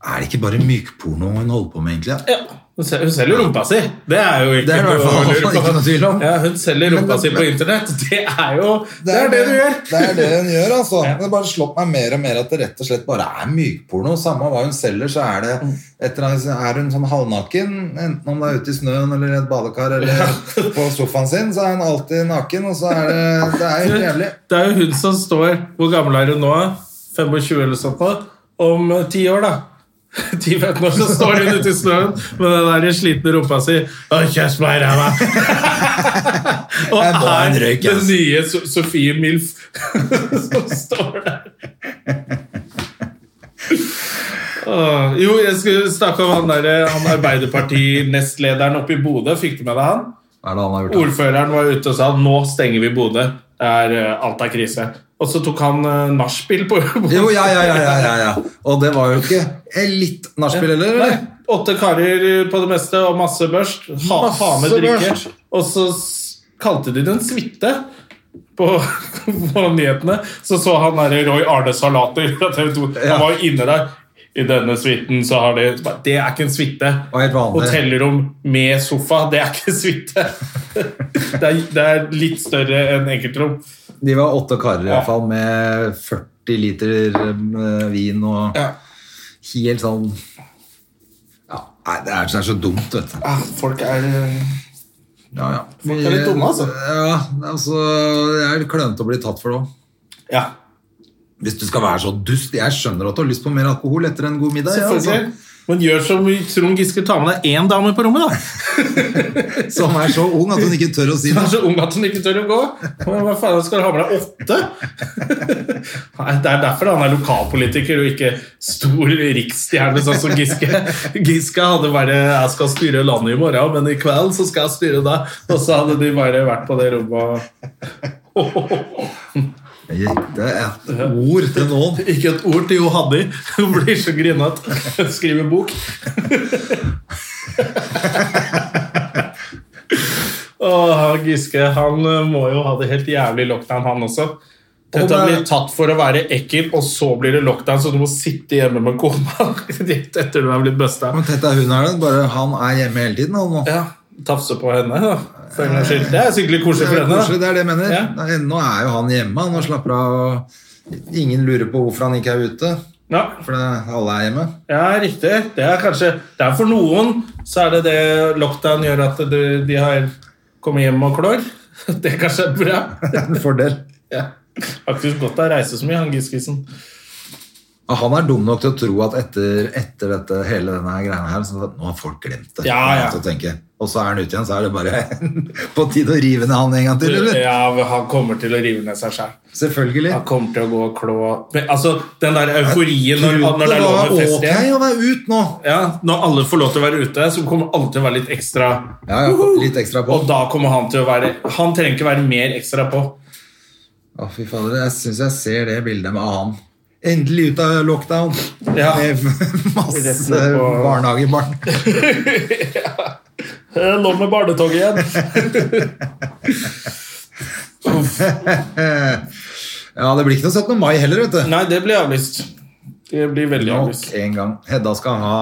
Speaker 2: er det ikke bare mykporno hun holder på med, egentlig?
Speaker 1: Ja. Hun sel- hun selger rumpa si. Det er jo ikke,
Speaker 2: Det er det i hvert fall
Speaker 1: noe å lure på.
Speaker 2: ikke noe tvil om.
Speaker 1: Ja, hun selger rumpa si på internett. Det er jo det, er det du gjør.
Speaker 2: Det er det hun gjør, altså. Det har bare slått meg mer og mer at det rett og slett bare er mykporno. Samme hva hun selger, så er det
Speaker 1: Mm.
Speaker 2: et eller annet, er hun sånn halvnaken, enten om det er ute i snøen eller i et badekar eller på sofaen sin, så er hun alltid naken, og så er det Det er jo helt jævlig.
Speaker 1: Det er jo hun som står Hvor gammel er hun nå? 25 eller sånt nå? Om eh, 10 år, da. 10-15 år, så står hun ute i snøen med den der slitne rumpa si. Å, kjøss meg i ræva! Og
Speaker 2: Jeg må ha en
Speaker 1: er
Speaker 2: røyk,
Speaker 1: den
Speaker 2: ass.
Speaker 1: nye So- Sofie Milf som står der. Åh, jo, jeg skulle snakke om han, der, eh, han Arbeiderparti-nestlederen oppe i Bodø. Fikk du med deg han?
Speaker 2: Hva er det han har gjort?
Speaker 1: Ordføreren var ute og sa nå stenger vi Bodø. Det er, eh, Alt er krise. Og så tok han uh, nachspiel på Bodø.
Speaker 2: Jo, ja, ja, ja, ja, ja, ja. Og det var jo ikke eh, litt nachspiel heller,
Speaker 1: Nei,
Speaker 2: eller?
Speaker 1: Åtte karer eh, på det meste og masse børst. Ha, ha med
Speaker 2: Masse
Speaker 1: drikke.
Speaker 2: børst.
Speaker 1: Og så s- kalte de det en suite på, på nyhetene. Så så han der Roy Arne Salater fra TV 2.
Speaker 2: Ja.
Speaker 1: Han var jo inne der. I denne suiten så har de Det er ikke en suite.
Speaker 2: Og helt vanlig.
Speaker 1: Hotellrom med sofa, det er ikke en suite. det, er, det er litt større enn enkeltrom.
Speaker 2: De var åtte karer iallfall, med 40 liter eh, vin og
Speaker 1: Ja.
Speaker 2: helt sånn ja, Nei, det er, det er så dumt, vet du.
Speaker 1: Ah, folk er
Speaker 2: Ja, ja.
Speaker 1: Folk er litt dumme, altså.
Speaker 2: Ja, altså, jeg er litt klønete å bli tatt for det òg.
Speaker 1: Ja.
Speaker 2: Hvis du skal være så dust. Jeg skjønner at du har lyst på mer alkohol etter en god middag. altså, ja,
Speaker 1: Selvfølgelig. Men gjør som Trond Giske, ta med deg én dame på rommet, da.
Speaker 2: altså. Som er så ung at hun ikke tør å si
Speaker 1: Hun
Speaker 2: det.
Speaker 1: er så ung at hun ikke tør å gå. Men Hva faen skal du ha med deg åtte? Nei, Det er derfor han er lokalpolitiker og ikke stor riksstjerne, sånn som Giske. Giske hadde bare 'jeg skal styre landet i morgen, men i kveld så skal jeg styre deg'. Og så hadde de bare vært på det rommet og
Speaker 2: Jeg gir Ikke et ord til noen.
Speaker 1: Ikke et ord til Johaddi. Hun blir så grinete. Skriver bok. Åh, Giske han eh, må jo ha det helt jævlig lockdown, han også. Dette
Speaker 2: Og det-
Speaker 1: blir tatt for å være ekkel, og så blir det lockdown, så du må sitte hjemme med kona rett etter du er blitt busta.
Speaker 2: Men tett er hun her, da. Bare han er hjemme hele tiden. Han, nå.
Speaker 1: Ja, Tafse på henne, da. For en gangs skyld. Det er sikkert litt
Speaker 2: Det
Speaker 1: koselig
Speaker 2: er
Speaker 1: for
Speaker 2: jo koselig,
Speaker 1: henne.
Speaker 2: det er det jeg mener.
Speaker 1: Ja.
Speaker 2: Nei, Nå er jo han hjemme. Han og slapper av. og Ingen lurer på hvorfor han ikke er ute.
Speaker 1: da. Ja,
Speaker 2: For det, alle er hjemme.
Speaker 1: Ja, riktig. Det er kanskje det er For noen så er det det lockdown gjør at du, de har kommet hjem og klår. Det kanskje er bra.
Speaker 2: Det er en fordel.
Speaker 1: Ja. Faktisk godt å reise så mye, han Giskisen.
Speaker 2: Og
Speaker 1: Ah.
Speaker 2: Han er dum nok til å tro at etter, etter dette, hele denne her greia her, så nå har folk glemt det.
Speaker 1: Ja, ja.
Speaker 2: Til å tenke. Og så er han ute igjen, så er det bare på tide å rive ned han en gang til, eller?
Speaker 1: Ja, han kommer til å rive ned seg sjæl.
Speaker 2: Selvfølgelig.
Speaker 1: Han kommer til å gå og klå Men, Altså, den der euforien når, når det
Speaker 2: det
Speaker 1: er lov
Speaker 2: var
Speaker 1: med fest
Speaker 2: ok
Speaker 1: igjen.
Speaker 2: å være ut nå.
Speaker 1: Ja, når alle får lov til å være ute, så kommer alle til å være litt ekstra
Speaker 2: Ja, ja, litt ekstra på.
Speaker 1: Og da kommer han til å være Han trenger ikke være mer ekstra på.
Speaker 2: Å, fy fader, jeg syns jeg ser det bildet med han. Endelig ut av lockdown.
Speaker 1: Ja.
Speaker 2: Med
Speaker 1: Rett
Speaker 2: masse
Speaker 1: ned på-
Speaker 2: barnehagebarn.
Speaker 1: Eh, Nå med barnetoget igjen.
Speaker 2: Ja, det blir ikke noe 17. mai heller, vet du.
Speaker 1: Nei, det blir avlyst. Det blir veldig
Speaker 2: Nok
Speaker 1: avlyst.
Speaker 2: en gang. Hedda skal ha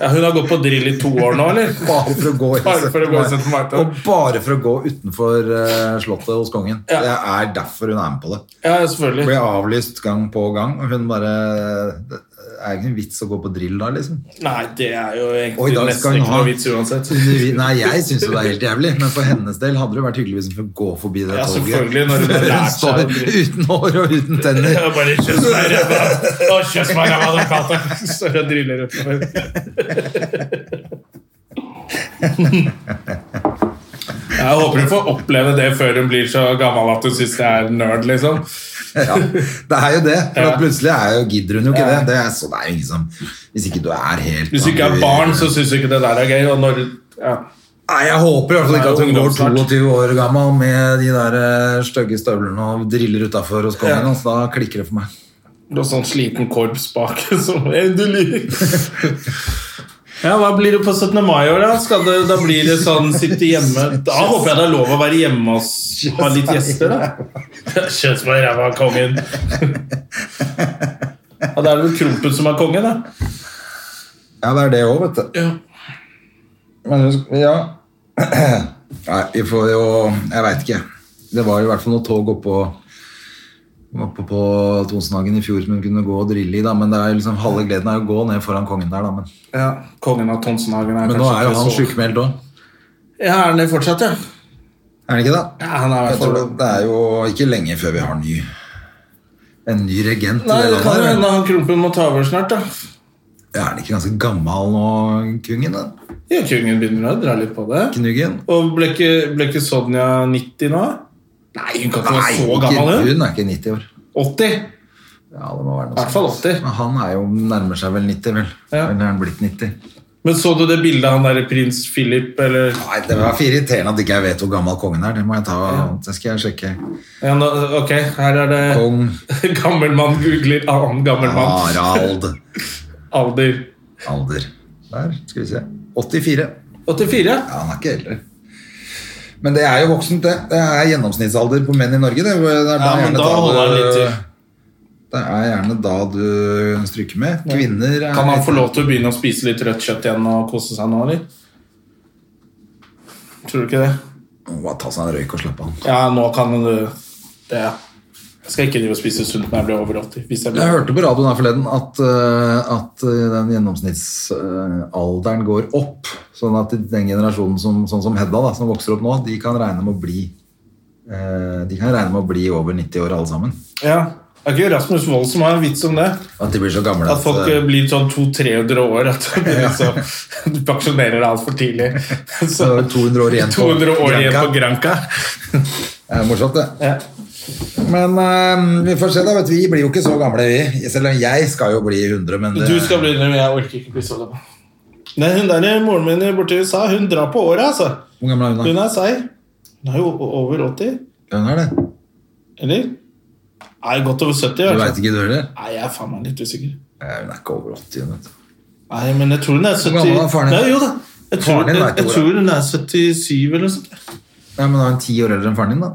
Speaker 1: Ja, hun har gått på drill i to år nå, eller?
Speaker 2: Bare for å gå i
Speaker 1: Bare for å gå i 17. mai.
Speaker 2: Og bare for å gå utenfor eh, slottet hos kongen.
Speaker 1: Ja.
Speaker 2: Det er derfor hun er med på det.
Speaker 1: Ja,
Speaker 2: Hun
Speaker 1: selvfølgelig.
Speaker 2: Blir avlyst gang på gang, og hun bare Det er ikke en vits å gå på drill da, liksom.
Speaker 1: Nei, det er jo
Speaker 2: Og i
Speaker 1: egentlig
Speaker 2: dag skal
Speaker 1: nesten
Speaker 2: hun
Speaker 1: ikke
Speaker 2: ha
Speaker 1: noe vits uansett.
Speaker 2: Nei, jeg syns jo det er helt jævlig, men for hennes del hadde det vært hyggelig hvis hun fikk gå forbi det
Speaker 1: Ja,
Speaker 2: toget.
Speaker 1: selvfølgelig, når hun
Speaker 2: Før hun
Speaker 1: har lært seg å
Speaker 2: står
Speaker 1: drill.
Speaker 2: uten hår og uten
Speaker 1: Det
Speaker 2: tenner.
Speaker 1: er bare kjøss meg i ræva. Å, kjøss meg i ræva, den katta står og driller utenfor. Jeg håper hun får oppleve det før hun blir så gammel at hun syns det er nerd, liksom.
Speaker 2: Ja, det er jo det. For
Speaker 1: Ja.
Speaker 2: at plutselig er jo, gidder hun jo ikke det. det er, så det er jo ingen som Hvis ikke du er helt
Speaker 1: Hvis du ikke er barn, så syns du ikke det der er gøy. Og når, ja.
Speaker 2: Nei, Jeg håper i hvert fall ikke at hun
Speaker 1: Nei,
Speaker 2: går
Speaker 1: ungdomsstart.
Speaker 2: 22 år gammel med de der eh, stygge støvlene og driller utafor hos kongen.
Speaker 1: Ja.
Speaker 2: hans. Da klikker det for meg.
Speaker 1: Noe sånn sliten korps bak som endelig Ja, hva blir det på 17. mai i år, da? Skal det, da blir det sånn sitte hjemme Da håper jeg det er lov å være hjemme og s- ha litt gjester, da. Kjøss meg i ræva, kongen. Ja, da er det vel Krompen som er konge, da.
Speaker 2: Ja, det er det òg, vet du.
Speaker 1: Ja.
Speaker 2: Men husk- ja Nei, vi får jo Jeg veit ikke. Det var jo i hvert fall noe tog oppå Oppe på Tonsenhagen i fjor som hun kunne gå og drille i, da. Men det er jo liksom halve gleden er jo å gå ned foran kongen der, da. Men,
Speaker 1: Ja, Kongen av Tonsenhagen er
Speaker 2: men nå er jo han sjukmeldt òg.
Speaker 1: Ja, er han det fortsatt, ja?
Speaker 2: Er han ikke det?
Speaker 1: Ja, han er i
Speaker 2: Jeg
Speaker 1: hvert
Speaker 2: tror
Speaker 1: fall
Speaker 2: det, det er jo ikke lenge før vi har ny en ny regent. i
Speaker 1: Nei, det
Speaker 2: landet
Speaker 1: kan jo
Speaker 2: her.
Speaker 1: hende han Krompen må ta over snart, da.
Speaker 2: Er han ikke ganske gammel nå, kongen? da?
Speaker 1: Ja, Kongen begynner å dra litt på det.
Speaker 2: Knuggen?
Speaker 1: Og ble ikke, ble ikke Sonja 90 nå? Nei, hun kan ikke være så
Speaker 2: ikke-
Speaker 1: gammel, hun.
Speaker 2: hun er ikke 90 år.
Speaker 1: 80?
Speaker 2: Ja, det må være noe
Speaker 1: I hvert fall
Speaker 2: sånt.
Speaker 1: 80.
Speaker 2: Men han er jo, nærmer seg vel 90, vel.
Speaker 1: Ja.
Speaker 2: Eller er han blitt 90?
Speaker 1: Men så du det bildet han derre prins Philip, eller
Speaker 2: Nei, Det var for irriterende at ikke jeg vet hvor gammel kongen er. Det må jeg ta, det skal jeg sjekke.
Speaker 1: ja, nå, Ok, her er det
Speaker 2: Kong
Speaker 1: Gammel mann googler annen gammel mann.
Speaker 2: Harald.
Speaker 1: Alder.
Speaker 2: Alder. Der, skal vi se. 84.
Speaker 1: 84?
Speaker 2: Ja, han er ikke eldre. Men det er jo voksent, det. Det er gjennomsnittsalder på menn i Norge. Det, det er da
Speaker 1: Ja, men
Speaker 2: gjerne
Speaker 1: da holder han litt til.
Speaker 2: Det er gjerne da du stryker med. Kvinner er
Speaker 1: Kan han få lov til å begynne å spise litt rødt kjøtt igjen og kose seg nå, eller? Tror du ikke det?
Speaker 2: Å, Bare ta seg en røyk og slappe av.
Speaker 1: Ja, nå kan du det. Jeg skal ikke drive og spise sunt når jeg blir over 80. Hvis jeg
Speaker 2: Jeg
Speaker 1: blir.
Speaker 2: hørte på radioen her forleden at, eh, at eh, den gjennomsnittsalderen går opp. Sånn at den generasjonen som, sånn som Hedda, da, som vokser opp nå, de kan regne med å bli eh, De kan regne med å bli over 90 år, alle sammen.
Speaker 1: Ja. Det er ikke Rasmus Wold som har en vits om det.
Speaker 2: At de blir så gamle
Speaker 1: At folk
Speaker 2: eh,
Speaker 1: eh, blir sånn 200-300 år. At du begynner så- du pensjonerer deg altfor tidlig.
Speaker 2: så er det 200 år igjen på
Speaker 1: 200 eh, år igjen på Granca.
Speaker 2: Det er morsomt, det.
Speaker 1: Ja.
Speaker 2: Men eh, vi får se, da. Vet du, vi blir jo ikke så gamle, vi. Selv om jeg skal jo bli 100, men det,
Speaker 1: Du skal bli det, men jeg orker ikke bli så gammel. Nei, hun der eh, moren min borte i USA, hun drar på året, altså.
Speaker 2: Hvor gammel er
Speaker 1: Hun
Speaker 2: hun, da?
Speaker 1: er seig. Hun er jo o- over 80,
Speaker 2: Hun er det.
Speaker 1: eller? Nei, godt over 70. i
Speaker 2: Du
Speaker 1: hvert fall.
Speaker 2: veit ikke, du heller?
Speaker 1: Nei, jeg er faen meg litt usikker.
Speaker 2: Eh, Hun er ikke over 80, hun, vet du.
Speaker 1: Nei, men jeg tror hun er 70
Speaker 2: gammel er faren din?
Speaker 1: Nei, jo da. Jeg tror,
Speaker 2: Faren din
Speaker 1: jeg,
Speaker 2: vet jo
Speaker 1: jeg,
Speaker 2: hvor
Speaker 1: tror hun er 77 eller noe sånt.
Speaker 2: Nei, men da er hun ti år eldre enn faren din, da.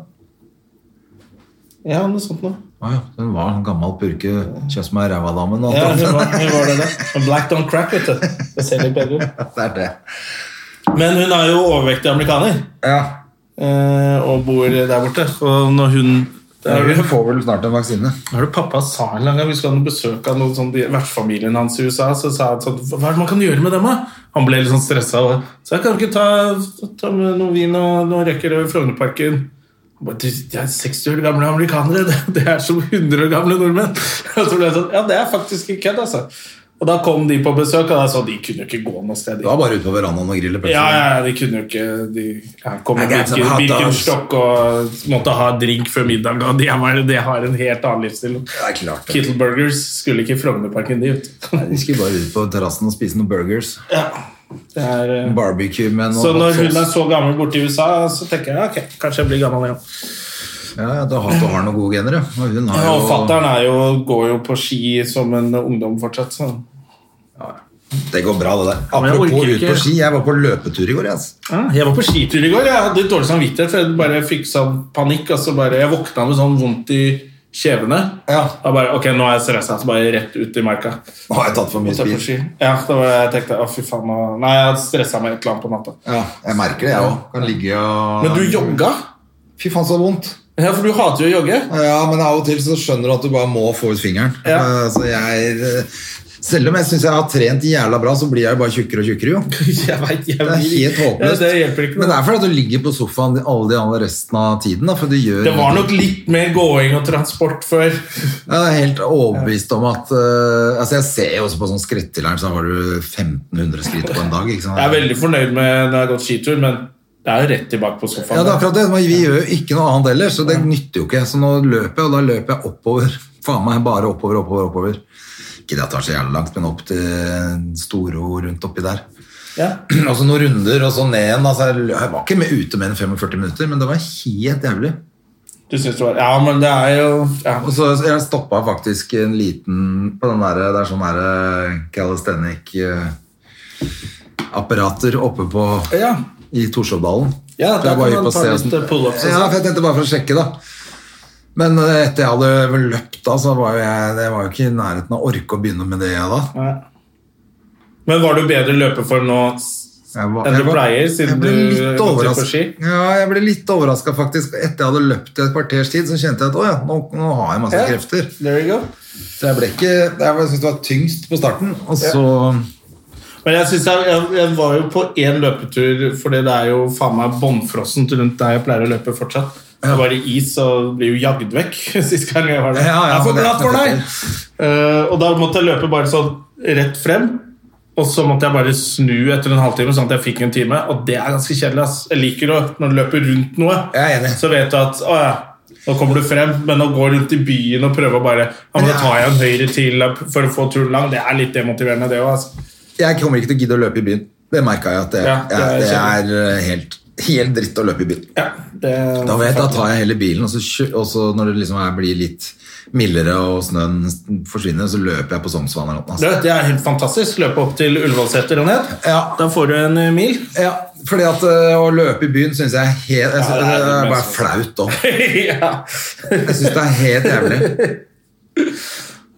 Speaker 1: Ja, noe sånt nå.
Speaker 2: Å ja, hun var en gammel purke, kjøss meg i ræva-damen. og alt annet.
Speaker 1: Ja, hun var, hun var det da. Men Black don't crack, vet du. Det ser litt bedre ut.
Speaker 2: Det er det.
Speaker 1: Men hun er jo overvektig amerikaner
Speaker 2: Ja.
Speaker 1: eh, og bor der borte. Og når hun der,
Speaker 2: Hun får vel snart en vaksine.
Speaker 1: Hva er det pappa sa en lang gang? Vi skulle ha noen besøk av noen sånn, de- vertsfamilien hans i USA. Så sa han sånn Hva er det man kan gjøre med dem, da? Han ble litt sånn stressa. og- Så jeg kan ikke ta, ta med noe vin og noen røyker i Frognerparken. Han bare, «Du, De er 60 år gamle amerikanere. Det, det er som 100 år gamle nordmenn. Og så ble jeg sånn Ja, det er faktisk ikke kødd, altså. Og da kom de på besøk, og da sa de kunne jo ikke gå noe sted.
Speaker 2: Du var bare ute på verandaen og grille pølser.
Speaker 1: Ja, ja, de kunne jo ikke De ja, kom
Speaker 2: Det
Speaker 1: med
Speaker 2: er greit som
Speaker 1: Birken-
Speaker 2: hot dogs.
Speaker 1: Birkenstock og måtte ha drink før middag. Og de, var, de har en helt annen livsstil.
Speaker 2: Det er klart. det.
Speaker 1: Kittleburgers skulle ikke i Frognerparken dit.
Speaker 2: Nei, De skulle bare ut på terrassen og spise noen burgers.
Speaker 1: ja, det er, eh,
Speaker 2: Barbecue med noe
Speaker 1: så når
Speaker 2: hot
Speaker 1: hun er
Speaker 2: sauce.
Speaker 1: så gammel borte i USA, så tenker jeg ok, kanskje jeg blir gammel igjen.
Speaker 2: Ja, ja, du har, du har noen gode gener, ja. Og hun har
Speaker 1: Ja,
Speaker 2: jo
Speaker 1: og fattern er jo- går jo på ski som en ungdom fortsatt. Så.
Speaker 2: Det går bra, det der.
Speaker 1: men jeg
Speaker 2: Apropos
Speaker 1: orker
Speaker 2: ut på
Speaker 1: ikke.
Speaker 2: ski, jeg var på løpetur i går, jeg. Altså.
Speaker 1: Ja, jeg var på skitur i går. Jeg hadde litt dårlig samvittighet, for jeg bare fikk sånn panikk. Og så bare, jeg våkna med sånn vondt i kjevene.
Speaker 2: Ja.
Speaker 1: Da bare, ok, nå er jeg stressa, så bare rett ut i marka.
Speaker 2: Nå har jeg tatt for mye
Speaker 1: Og så på
Speaker 2: spis.
Speaker 1: ski. Ja, da var det jeg tenkte, å fy faen. nå- Nei, jeg hadde stressa meg et eller annet på natta.
Speaker 2: Ja, jeg merker det, jeg òg. Kan ligge og
Speaker 1: Men du jogga?
Speaker 2: Fy faen, så vondt.
Speaker 1: Ja, for du hater jo å jogge.
Speaker 2: Ja, men av og til så skjønner du at du bare må få ut fingeren.
Speaker 1: Ja.
Speaker 2: Eh, Så jeg eh, Selv om jeg syns jeg har trent jævla bra, så blir jeg jo bare tjukkere og tjukkere, jo.
Speaker 1: Jeg vet, jeg
Speaker 2: Det er
Speaker 1: vil-
Speaker 2: helt håpløst.
Speaker 1: Ja, det hjelper ikke
Speaker 2: Men det
Speaker 1: noe.
Speaker 2: er fordi at du ligger på sofaen alle de andre resten av tiden. Da, for du gjør
Speaker 1: Det var nok litt mer gåing og transport før.
Speaker 2: Jeg er helt overbevist om at eh, Altså, jeg ser jo også på sånn skrittileren, så har du 1500 skritt på en dag. Ikke sant?
Speaker 1: Jeg er veldig fornøyd med når jeg har gått skitur, men det er jo rett tilbake på sofaen.
Speaker 2: Ja, det er akkurat det. Men vi gjør jo ikke noe annet ellers, så det nytter jo ikke. Så nå løper jeg, og da løper jeg oppover. Faen meg bare oppover, oppover, oppover. Ikke det at det tar så jævlig langt, men opp til Storo rundt oppi der.
Speaker 1: Ja.
Speaker 2: Og så noen runder, og så ned igjen. Altså, jeg lø- jeg var ikke med ute mer enn 45 minutter, men det var helt jævlig.
Speaker 1: Du synes det var Ja, men det er jo ja.
Speaker 2: Og så jeg stoppa faktisk en liten på den der, Det er sånn derre calisthenic-apparater oppe på
Speaker 1: ja.
Speaker 2: i Torshovdalen.
Speaker 1: Ja,
Speaker 2: For
Speaker 1: da
Speaker 2: jeg bare
Speaker 1: kan
Speaker 2: gikk
Speaker 1: man
Speaker 2: og
Speaker 1: ta
Speaker 2: se
Speaker 1: litt,
Speaker 2: hvordan-
Speaker 1: eh, pull-ups og
Speaker 2: Ja,
Speaker 1: sånn.
Speaker 2: for jeg tenkte bare for å sjekke, da. Men eh, etter jeg hadde vel løpt, da, så var jo jeg, det var jo ikke i nærheten av å orke å begynne med det jeg da.
Speaker 1: Nei. Men var du bedre løpeform nå s-
Speaker 2: Jeg var-
Speaker 1: enn du
Speaker 2: jeg var-
Speaker 1: pleier, siden
Speaker 2: jeg ble
Speaker 1: du
Speaker 2: litt
Speaker 1: har gått litt på
Speaker 2: overrasket.
Speaker 1: ski?
Speaker 2: Ja, jeg ble litt overraska faktisk. Etter jeg hadde løpt et kvarters tid, så kjente jeg at å ja, nå, nå har jeg masse
Speaker 1: Ja.
Speaker 2: krefter.
Speaker 1: There you go.
Speaker 2: Så jeg ble ikke Jeg syntes det var tyngst på starten, og så
Speaker 1: Men jeg, synes jeg, jeg, jeg var jo på én løpetur, Fordi det er jo faen meg bånnfrossent rundt der jeg pleier å løpe fortsatt. Så var det is og ble jo jagd vekk sist gang jeg var der.
Speaker 2: Ja, ja,
Speaker 1: jeg er for
Speaker 2: det-
Speaker 1: glad for deg! Eh, og da måtte jeg løpe bare sånn rett frem. Og så måtte jeg bare snu etter en halvtime, sånn at jeg fikk en time. Og det er ganske kjedelig. ass. Jeg liker å, når du løper rundt noe,
Speaker 2: Jeg er enig.
Speaker 1: så vet du at å ja, nå kommer du frem. Men å gå rundt i byen og prøve å bare ja,
Speaker 2: Men
Speaker 1: men Da
Speaker 2: det
Speaker 1: tar jeg en høyre til for å få turen lang, det er litt demotiverende, det òg. Altså.
Speaker 2: Jeg kommer ikke til å gidde å løpe i byen. Det merka jeg at det,
Speaker 1: Ja, det
Speaker 2: jeg,
Speaker 1: er
Speaker 2: det
Speaker 1: kjedelig.
Speaker 2: er eh, helt, helt dritt å løpe i byen.
Speaker 1: Ja, det,
Speaker 2: Da, vet, jeg, da tar jeg heller bilen, og så, kjø- og så når det liksom er, blir litt mildere og snøen forsvinner, så løper jeg på Sognsvann eller noe.
Speaker 1: Du
Speaker 2: Altså.
Speaker 1: vet, Det er helt fantastisk. Løpe opp til Ullevålseter og ned.
Speaker 2: Ja.
Speaker 1: Da får du en eh, mil.
Speaker 2: Ja, fordi at eh, å løpe i byen syns jeg er helt jeg,
Speaker 1: Ja,
Speaker 2: synes,
Speaker 1: det er
Speaker 2: Det
Speaker 1: litt
Speaker 2: er bare
Speaker 1: mest-
Speaker 2: flaut òg.
Speaker 1: ja.
Speaker 2: Jeg syns det er helt jævlig.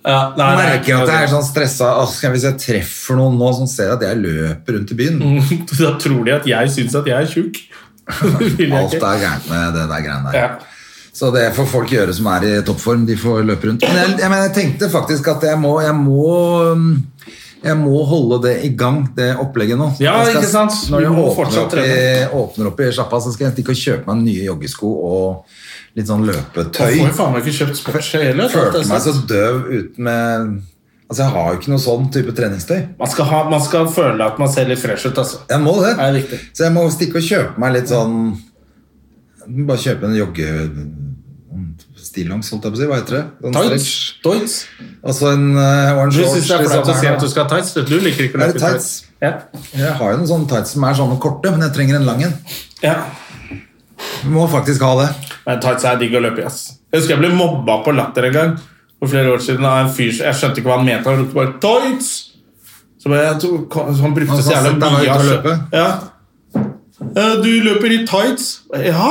Speaker 1: ja
Speaker 2: Jeg
Speaker 1: nei, det er
Speaker 2: merker at jeg
Speaker 1: ikke noe-
Speaker 2: er sånn stressa. Åh, skal jeg- Hvis jeg treffer noen nå som ser at jeg løper rundt i byen
Speaker 1: Da tror de at jeg syns at jeg er tjukk. Det vil jeg
Speaker 2: Alt
Speaker 1: ikke.
Speaker 2: er gærent med det der greiene der.
Speaker 1: Ja.
Speaker 2: Så det får folk gjøre som er i toppform. De får løpe rundt. Men jeg, jeg, mener, jeg tenkte faktisk at jeg må, jeg må um, jeg må holde det i gang, det opplegget nå.
Speaker 1: Ja,
Speaker 2: Jeg skal-
Speaker 1: ikke sant?
Speaker 2: Når
Speaker 1: Vi
Speaker 2: jeg
Speaker 1: må
Speaker 2: åpner
Speaker 1: fortsatt
Speaker 2: opp, i, åpner opp i sjappa, så skal jeg stikke og kjøpe meg nye joggesko og litt sånn
Speaker 1: Jeg får jo
Speaker 2: løpetøy.
Speaker 1: faen meg ikke kjøpt sportsskje heller.
Speaker 2: Følte meg
Speaker 1: sant?
Speaker 2: så døv uten med Altså, jeg har jo ikke noe sånn type treningstøy.
Speaker 1: Man skal, ha, man skal føle at man ser litt fresh ut. Altså.
Speaker 2: Jeg må det.
Speaker 1: Det er viktig.
Speaker 2: Så jeg må stikke og kjøpe meg litt sånn Bare kjøpe en jogge... Stillongs, holdt jeg på å si. Hva heter det? Sånn
Speaker 1: Tights.
Speaker 2: stretch.
Speaker 1: Tights.
Speaker 2: Og så en uh, orange
Speaker 1: Du syns det er flaut å si at du
Speaker 2: shorts.
Speaker 1: skal ha tights. Du liker ikke å
Speaker 2: Er det
Speaker 1: løpe i tights.
Speaker 2: tights?
Speaker 1: Ja.
Speaker 2: Jeg har jo noen sånne tights som er sånne korte, men jeg trenger en lang en.
Speaker 1: ja.
Speaker 2: Vi Må faktisk ha det.
Speaker 1: Men tights er digg å løpe i, ass. Jeg husker jeg ble mobba på latter en gang for flere år siden av en fyr som- Jeg skjønte ikke hva han mente. Han ropte bare 'tights'! Så bare, jeg tok- han brukte
Speaker 2: Han
Speaker 1: så jævla
Speaker 2: satt der og var
Speaker 1: mye
Speaker 2: ute
Speaker 1: av
Speaker 2: og løpe.
Speaker 1: Ja. «Eh, Du løper i tights? Ja?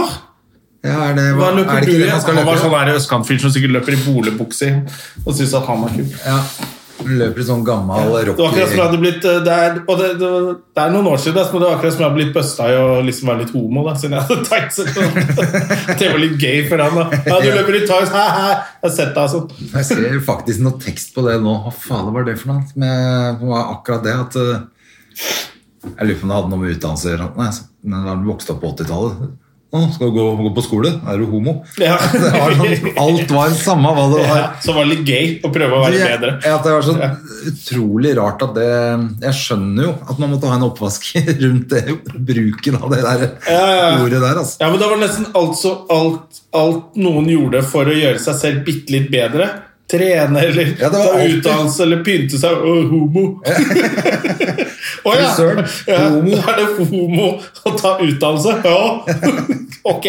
Speaker 2: Ja, er det,
Speaker 1: Hva
Speaker 2: hva,
Speaker 1: løper
Speaker 2: er det
Speaker 1: du
Speaker 2: ikke
Speaker 1: i?
Speaker 2: det man skal
Speaker 1: Han var
Speaker 2: løpe i?
Speaker 1: sånn der østkantfyr som sikkert løper i boligbukse og syns at han var kul.
Speaker 2: Ja. Løper i sånn gammel
Speaker 1: Det var akkurat som jeg
Speaker 2: rocky
Speaker 1: hadde blitt eh, Det er, og det, det, var- det er noen år siden, ass, men det var akkurat som jeg hadde blitt busta i å liksom være litt homo. da Siden jeg hadde tights. Det var litt gay for han. da Ja, du løper i tights, hæ, hæ. Jeg har sett deg sånn.
Speaker 2: Jeg ser faktisk noe tekst på det nå. Hva faen var det for noe? Med, det var akkurat det at eh, Jeg lurer på om det hadde noe med utdannelse å gjøre. Nei, så- Men da du vokste opp på 80-tallet Å, skal du gå, gå på skole? Er du homo?
Speaker 1: Ja.
Speaker 2: Det var sånn, alt var det samme hva det var.
Speaker 1: Ja, så var det litt gay å prøve å være bedre.
Speaker 2: Ja, at det var så utrolig rart at det Jeg skjønner jo at man måtte ha en oppvask rundt det, bruken av det der
Speaker 1: ja, ja.
Speaker 2: ordet der. Altså.
Speaker 1: Ja, men da var nesten alt, så, alt, alt noen gjorde for å gjøre seg selv bitte litt bedre. Trene eller
Speaker 2: Ja, det var
Speaker 1: ta
Speaker 2: alltid-
Speaker 1: utdannelse eller pynte seg. Å, homo! Å ja!
Speaker 2: Frisøren,
Speaker 1: ja!
Speaker 2: homo.
Speaker 1: Da er det homo å ta utdannelse? Ja! ok.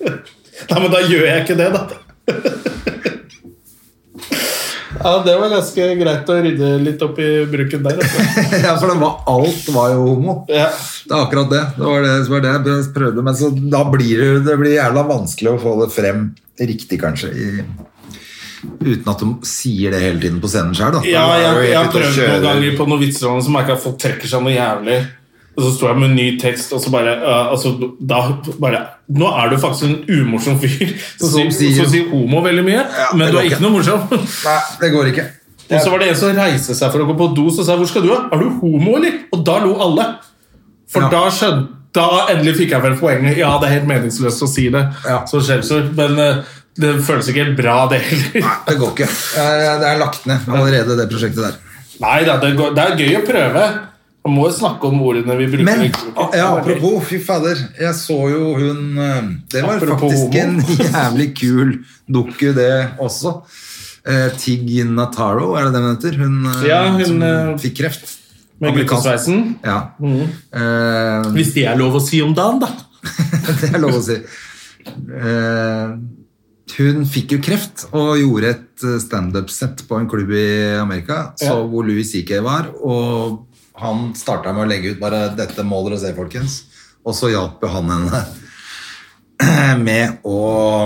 Speaker 1: Nei, men da gjør jeg ikke det, da. Ja, det var ganske greit å rydde litt opp i bruken der. altså.
Speaker 2: Ja, for det var, alt var jo homo.
Speaker 1: Ja.
Speaker 2: Det er akkurat det. Det var det som var det jeg prøvde. Men så, da blir det, det blir jævla vanskelig å få det frem riktig, kanskje. I, uten at de sier det hele tiden på scenen sjøl, da.
Speaker 1: Ja,
Speaker 2: Da er det
Speaker 1: jeg,
Speaker 2: jo
Speaker 1: jeg har
Speaker 2: helt ute å
Speaker 1: prøvd noen
Speaker 2: kjøre.
Speaker 1: ganger på noen vitser om det, så merker jeg at folk trekker seg noe jævlig. Og så står jeg med en ny tekst, og så bare, øh, altså, da, bare Nå er du faktisk en umorsom fyr som,
Speaker 2: Som
Speaker 1: sier,
Speaker 2: sier-
Speaker 1: som sier homo veldig mye,
Speaker 2: Ja,
Speaker 1: men
Speaker 2: det
Speaker 1: du
Speaker 2: går
Speaker 1: er
Speaker 2: ikke.
Speaker 1: ikke noe morsom.
Speaker 2: Nei, det går ikke.
Speaker 1: Og så var det en som reiste seg for å gå på do, så sa jeg 'Hvor skal du?' da? 'Er du homo, eller?' Og da lo alle. For
Speaker 2: Ja.
Speaker 1: da skjønte Da endelig fikk jeg vel poenget. Ja, det er helt meningsløst å si det
Speaker 2: Ja.
Speaker 1: som skjellsord, men øh, det føles ikke helt bra, det heller.
Speaker 2: Nei, det går ikke. Jeg- Det er lagt ned allerede, det prosjektet der.
Speaker 1: Nei da, det, går, det er gøy å prøve. Man må jo snakke om ordene vi bruker.
Speaker 2: Men
Speaker 1: Ikke bruker.
Speaker 2: ja, apropos, fy fader. Jeg så jo hun eh, Det var
Speaker 1: Apropos
Speaker 2: faktisk en
Speaker 1: homo.
Speaker 2: jævlig kul dukke, det også. Eh, Tig Nataro, er det det hun heter? Hun, eh,
Speaker 1: Ja, hun,
Speaker 2: som
Speaker 1: eh,
Speaker 2: fikk kreft.
Speaker 1: Med
Speaker 2: Amerikansk.
Speaker 1: guttesveisen.
Speaker 2: Ja. Eh,
Speaker 1: Hvis det er lov å si om dagen, da.
Speaker 2: det er lov å si. Eh, hun fikk jo kreft og gjorde et eh, standup-sett på en klubb i Amerika, så
Speaker 1: Ja.
Speaker 2: hvor Louis CK var, og han starta med å legge ut bare 'dette må dere se, folkens', og så hjalp jo han henne med å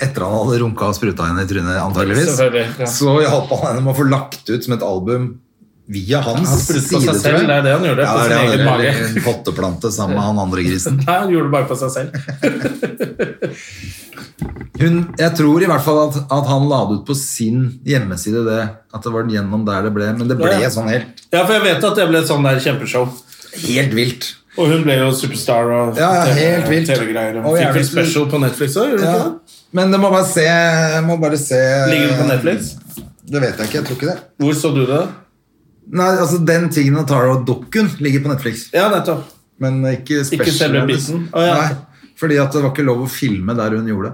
Speaker 2: etter han hadde runka og spruta henne i trynet, antageligvis,
Speaker 1: Selvfølgelig, ja.
Speaker 2: så hjalp han henne med å få lagt ut som et album Via hans
Speaker 1: Han sprutet på
Speaker 2: side,
Speaker 1: seg selv,
Speaker 2: tror jeg.
Speaker 1: det er det han gjorde,
Speaker 2: Ja, det er
Speaker 1: på sin
Speaker 2: det
Speaker 1: egen
Speaker 2: han gjorde,
Speaker 1: mage.
Speaker 2: eller En potteplante sammen med han andre grisen.
Speaker 1: Nei, han gjorde det bare på seg selv.
Speaker 2: Hun, jeg tror i hvert fall at, at han la det ut på sin hjemmeside, det, at det var gjennom der det ble. Men det ble
Speaker 1: Ja, ja.
Speaker 2: sånn helt,
Speaker 1: Ja, for jeg vet at det ble et sånn der kjempeshow.
Speaker 2: helt vilt.
Speaker 1: Og hun ble jo superstar og
Speaker 2: Ja, ja, helt vilt.
Speaker 1: TV-greier.
Speaker 2: Og
Speaker 1: Og fikk
Speaker 2: jævlig-
Speaker 1: en special på Netflix òg, gjorde hun
Speaker 2: Ja.
Speaker 1: ikke det?
Speaker 2: Men det må bare se, må bare se
Speaker 1: Ligger den på Netflix?
Speaker 2: Det vet jeg ikke, jeg tror ikke det.
Speaker 1: Hvor så du det?
Speaker 2: Nei, altså Den tingen og Taro-dukken ligger på Netflix,
Speaker 1: Ja, nettopp.
Speaker 2: men ikke special.
Speaker 1: Ikke selve biten. Å, ja.
Speaker 2: Nei, fordi at det var ikke lov å filme der hun gjorde det.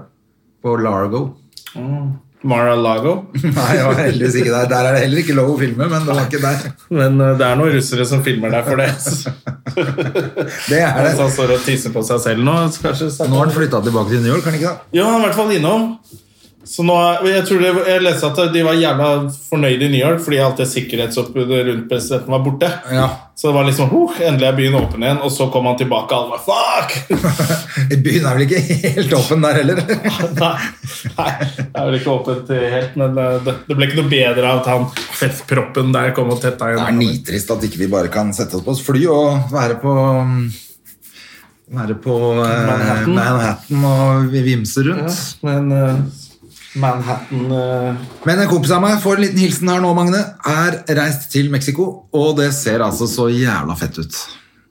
Speaker 2: På Largo.
Speaker 1: Mar-a-Lago.
Speaker 2: Nei, jeg var heldigvis ikke der. Der er det heller ikke lov å filme, men det var ikke der.
Speaker 1: Men eh, det er noen russere som filmer deg for det. så-
Speaker 2: Det er
Speaker 1: Mens han
Speaker 2: det.
Speaker 1: står og tisser på seg selv nå. så kanskje
Speaker 2: Nå har han flytta tilbake til New York, kan han ikke det?
Speaker 1: Jo, han er i hvert fall innom. Så nå, jeg tror det, jeg leste at de var jævla fornøyde i New York fordi alt det sikkerhetsoppbudet rundt presidenten var borte.
Speaker 2: Ja.
Speaker 1: Så det var liksom huh, Endelig er byen åpen igjen. Og så kom han tilbake, og alle var fuck!
Speaker 2: Byen er vel ikke helt åpen der heller?
Speaker 1: Nei, nei, det er vel ikke åpent helt, men eh, det, det ble ikke noe bedre av at han fettproppen der kom og tetta
Speaker 2: Det er
Speaker 1: igjen.
Speaker 2: nitrist at ikke vi bare kan sette oss på oss fly og være på mm, være på eh,
Speaker 1: Manhattan.
Speaker 2: Manhattan og vi vimse rundt.
Speaker 1: Men eh, Manhattan eh,
Speaker 2: Men en kompis av meg får en liten hilsen her nå, Magne. Er reist til Mexico, og det ser altså så jævla fett ut.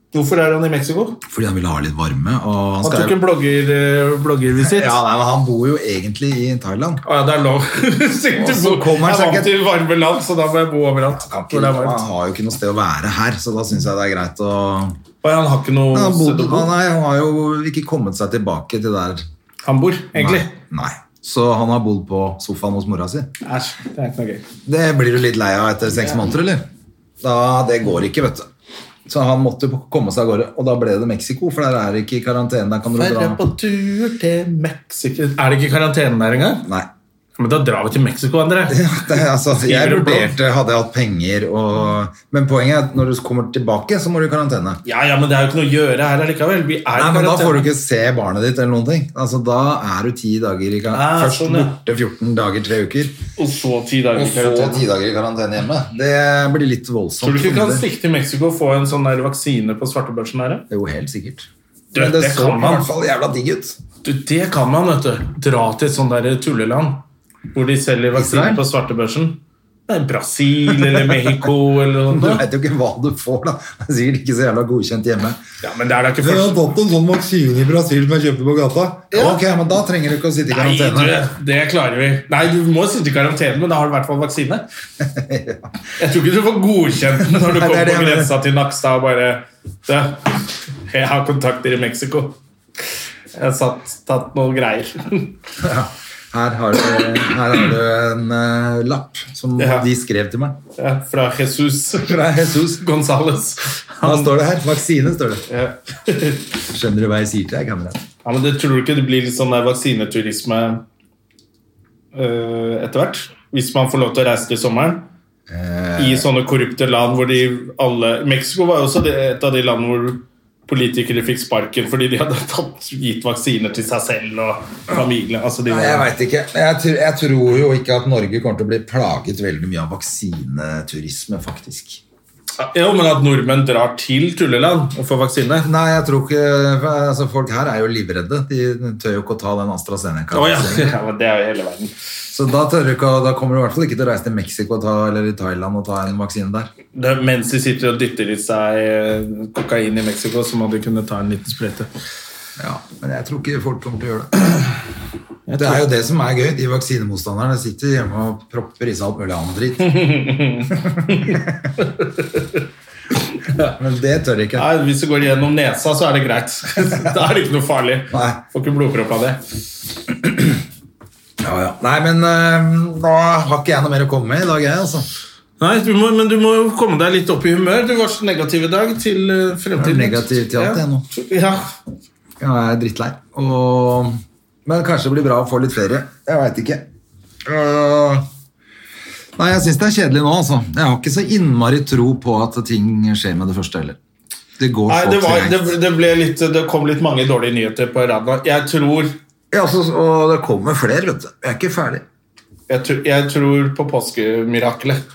Speaker 1: Hvorfor er han i Mexico?
Speaker 2: Fordi han ville ha litt varme. Og han,
Speaker 1: Han
Speaker 2: skal-
Speaker 1: tok en blogger, eh, bloggervisitt.
Speaker 2: ja, nei, men han bor jo egentlig i Thailand.
Speaker 1: Å ja, det er lov.
Speaker 2: Og
Speaker 1: Sikkert
Speaker 2: så
Speaker 1: bo-
Speaker 2: kommer
Speaker 1: jeg er
Speaker 2: han
Speaker 1: vant til varme land, så da må jeg bo overalt.
Speaker 2: Han,
Speaker 1: hvor det er varmt.
Speaker 2: han har jo ikke noe sted å være her, så da syns jeg det er greit å
Speaker 1: Og han har ikke noe
Speaker 2: han,
Speaker 1: sted
Speaker 2: bodde,
Speaker 1: å bo.
Speaker 2: han, er, han har jo ikke kommet seg tilbake til der
Speaker 1: Han bor, egentlig.
Speaker 2: Nei. Nei. Så han har bodd på sofaen hos mora si.
Speaker 1: Æsj, det er ikke noe gøy.
Speaker 2: Det blir du litt lei av etter seks måneder, eller? Da, det går ikke, vet du. Så han måtte komme seg av gårde, og da ble det Mexico, for der er det ikke karantene. Der kan du
Speaker 1: Være
Speaker 2: dra.
Speaker 1: på tur til Mexico Er det ikke karantene der engang?
Speaker 2: Nei.
Speaker 1: Men da drar vi til Mexico, André.
Speaker 2: Det, er altså, jeg
Speaker 1: Skriver du på?
Speaker 2: vurderte, hadde jeg hatt penger og Men poenget er at når du kommer tilbake, så må du i karantene.
Speaker 1: Ja, ja, men det er jo ikke noe å gjøre her allikevel. Vi er i
Speaker 2: Nei, men Da
Speaker 1: karantene.
Speaker 2: får du ikke se barnet ditt eller noen ting. Altså, Da er du ti dager i
Speaker 1: Ah,
Speaker 2: karantene. Først
Speaker 1: sånn, ja.
Speaker 2: borte 14 dager, tre uker,
Speaker 1: Og så ti dager
Speaker 2: og
Speaker 1: i
Speaker 2: så
Speaker 1: karantene.
Speaker 2: ti dager i karantene hjemme. Det blir litt voldsomt.
Speaker 1: Tror du ikke du kan
Speaker 2: Det-
Speaker 1: stikke til Mexico og få en sånn der vaksine på svartebørsen her?
Speaker 2: Jo, helt sikkert.
Speaker 1: Du,
Speaker 2: Men det,
Speaker 1: det
Speaker 2: så i
Speaker 1: kan man.
Speaker 2: hvert fall jævla digg ut.
Speaker 1: Du, det kan man, vet du. Dra til et sånt der tulleland hvor de selger vaksiner
Speaker 2: Israel?
Speaker 1: på svartebørsen. Nei, Brasil eller Mexico eller
Speaker 2: Du
Speaker 1: noe sånt.
Speaker 2: veit jo ikke hva du får, da. Det er sikkert ikke så jævla godkjent hjemme.
Speaker 1: Ja, men det er da ikke
Speaker 2: Jeg har
Speaker 1: først.
Speaker 2: tatt en sånn vaksine i Brasil som jeg kjøpte på gata. Ok, men Da trenger du ikke å sitte i
Speaker 1: Nei,
Speaker 2: karantene.
Speaker 1: du, det klarer vi. Nei, du må sitte i karantene, men da har du i hvert fall vaksine. Jeg tror ikke du får godkjent den når du
Speaker 2: Nei, det er det
Speaker 1: kommer
Speaker 2: jeg
Speaker 1: på
Speaker 2: mener.
Speaker 1: grensa til Nakstad og bare «Du, Jeg har kontakter i Mexico. Jeg har satt, tatt noen greier.
Speaker 2: Ja. Her har du, her har du en eh, lapp som
Speaker 1: Ja.
Speaker 2: de skrev til meg.
Speaker 1: Ja, Fra Jesus
Speaker 2: Fra Jesus.
Speaker 1: Gonzales.
Speaker 2: Hva står det her? Vaksine, står det.
Speaker 1: Ja.
Speaker 2: Skjønner du hva jeg sier til deg, kamerat?
Speaker 1: Ja, men det tror du ikke det blir litt sånn der vaksineturisme eh, etter hvert? Hvis man får lov til å reise til sommeren? I sånne korrupte land hvor de alle Mexico var jo også det, et av de land hvor politikere fikk sparken fordi de hadde tatt, gitt vaksiner til seg selv og familie. Altså de
Speaker 2: Nei,
Speaker 1: var,
Speaker 2: jeg veit ikke. Jeg, tr- jeg tror jo ikke at Norge kommer til å bli plaget veldig mye av vaksineturisme, faktisk.
Speaker 1: Jo, men at nordmenn drar til tulleland og får vaksine.
Speaker 2: Nei, jeg tror ikke for, altså, Folk her er jo livredde. De tør jo ikke å ta den AstraZeneca.
Speaker 1: Å ja. ja, men det er jo hele verden.
Speaker 2: Så da, tør du ikke, å- da kommer du i hvert fall ikke til å reise til Mexico og ta, eller i Thailand og ta en vaksine der.
Speaker 1: Det, er mens de sitter og dytter i seg eh, kokain i Mexico, så må de kunne ta en liten sprøyte.
Speaker 2: Ja, Men jeg tror ikke folk kommer til å gjøre det. Det er jo det som er gøy. De vaksinemotstanderne sitter hjemme og propper i seg alt mulig annet dritt. Men det tør de ikke.
Speaker 1: Nei, Hvis du går gjennom nesa, så er det greit. da er det ikke noe farlig.
Speaker 2: Nei.
Speaker 1: Får ikke blodpropp av det.
Speaker 2: Ja, ja. Nei, men øh, da har ikke jeg noe mer å komme med i dag, jeg, altså.
Speaker 1: Nei, du må, Men du må jo komme deg litt opp i humør. Du var så negativ i dag til eh,
Speaker 2: Jeg er
Speaker 1: fremtiden.
Speaker 2: negativ til alt, jeg nå.
Speaker 1: Ja.
Speaker 2: Ja, jeg er drittlei. Og... Men kanskje det blir bra å få litt flere. Jeg veit ikke. Øh, Nei, jeg syns det er kjedelig nå, altså. Jeg har ikke så innmari tro på at ting skjer med det første heller. Det går
Speaker 1: Nei,
Speaker 2: så
Speaker 1: det, var, det,
Speaker 2: tregt.
Speaker 1: det, ble litt, det kom litt mange dårlige nyheter på rad nå. Jeg tror,
Speaker 2: Ja, altså, og det kommer flere, vet du. Jeg er ikke ferdig.
Speaker 1: jeg, tror- jeg tror på påskemiraklet.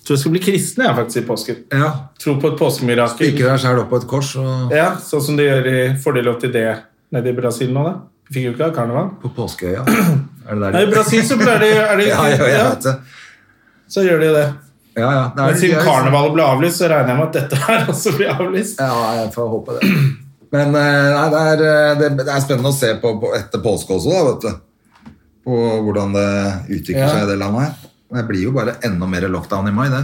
Speaker 1: tror jeg skal bli kristen jeg, faktisk i påsken.
Speaker 2: Ja.
Speaker 1: Tro på et påskemirakel.
Speaker 2: Ikke deg sjæl opp på et kors og
Speaker 1: Ja, sånn som de gjør i Får de lov til det nede i Brasil nå, da? Vi fikk jo ikke ha karneval.
Speaker 2: på påskeøya. Er det der
Speaker 1: Nei, I Brasil så pleier de, er de
Speaker 2: Ja, ja, jeg vet det.
Speaker 1: så gjør de jo det.
Speaker 2: Ja, ja. Det er
Speaker 1: Men siden
Speaker 2: gøy.
Speaker 1: karnevalet ble avlyst, så regner jeg med at dette her også blir avlyst.
Speaker 2: Ja, jeg får håpe det. Men eh, nei, det, er, eh, det, det er spennende å se på, på etter påske også, da, vet du. På hvordan det utvikler
Speaker 1: Ja.
Speaker 2: seg i det landet her. Det blir jo bare enda mer lockdown i mai, det.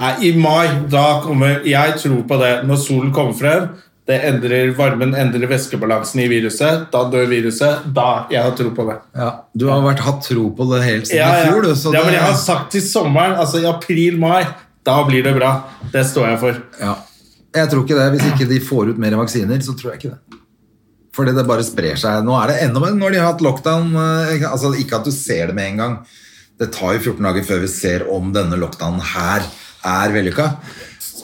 Speaker 1: Nei, I mai, da kommer Jeg tror på det. Når solen kommer frem, det endrer varmen endrer væskebalansen i viruset. Da dør viruset. Da Jeg har tro på det.
Speaker 2: Du har vært, hatt tro på det helt siden
Speaker 1: Ja,
Speaker 2: i
Speaker 1: ja.
Speaker 2: fjor, du. Så
Speaker 1: ja,
Speaker 2: det,
Speaker 1: men jeg har sagt til sommeren, altså i april-mai, da blir det bra. Det står jeg for.
Speaker 2: ja. jeg tror ikke det. Hvis ikke de får ut mer vaksiner, så tror jeg ikke det. Fordi det bare sprer seg. Nå er det enda mer når de har hatt lockdown. eh, Altså, ikke at du ser det med en gang. Det tar jo 14 dager før vi ser om denne lockdownen her er vellykka.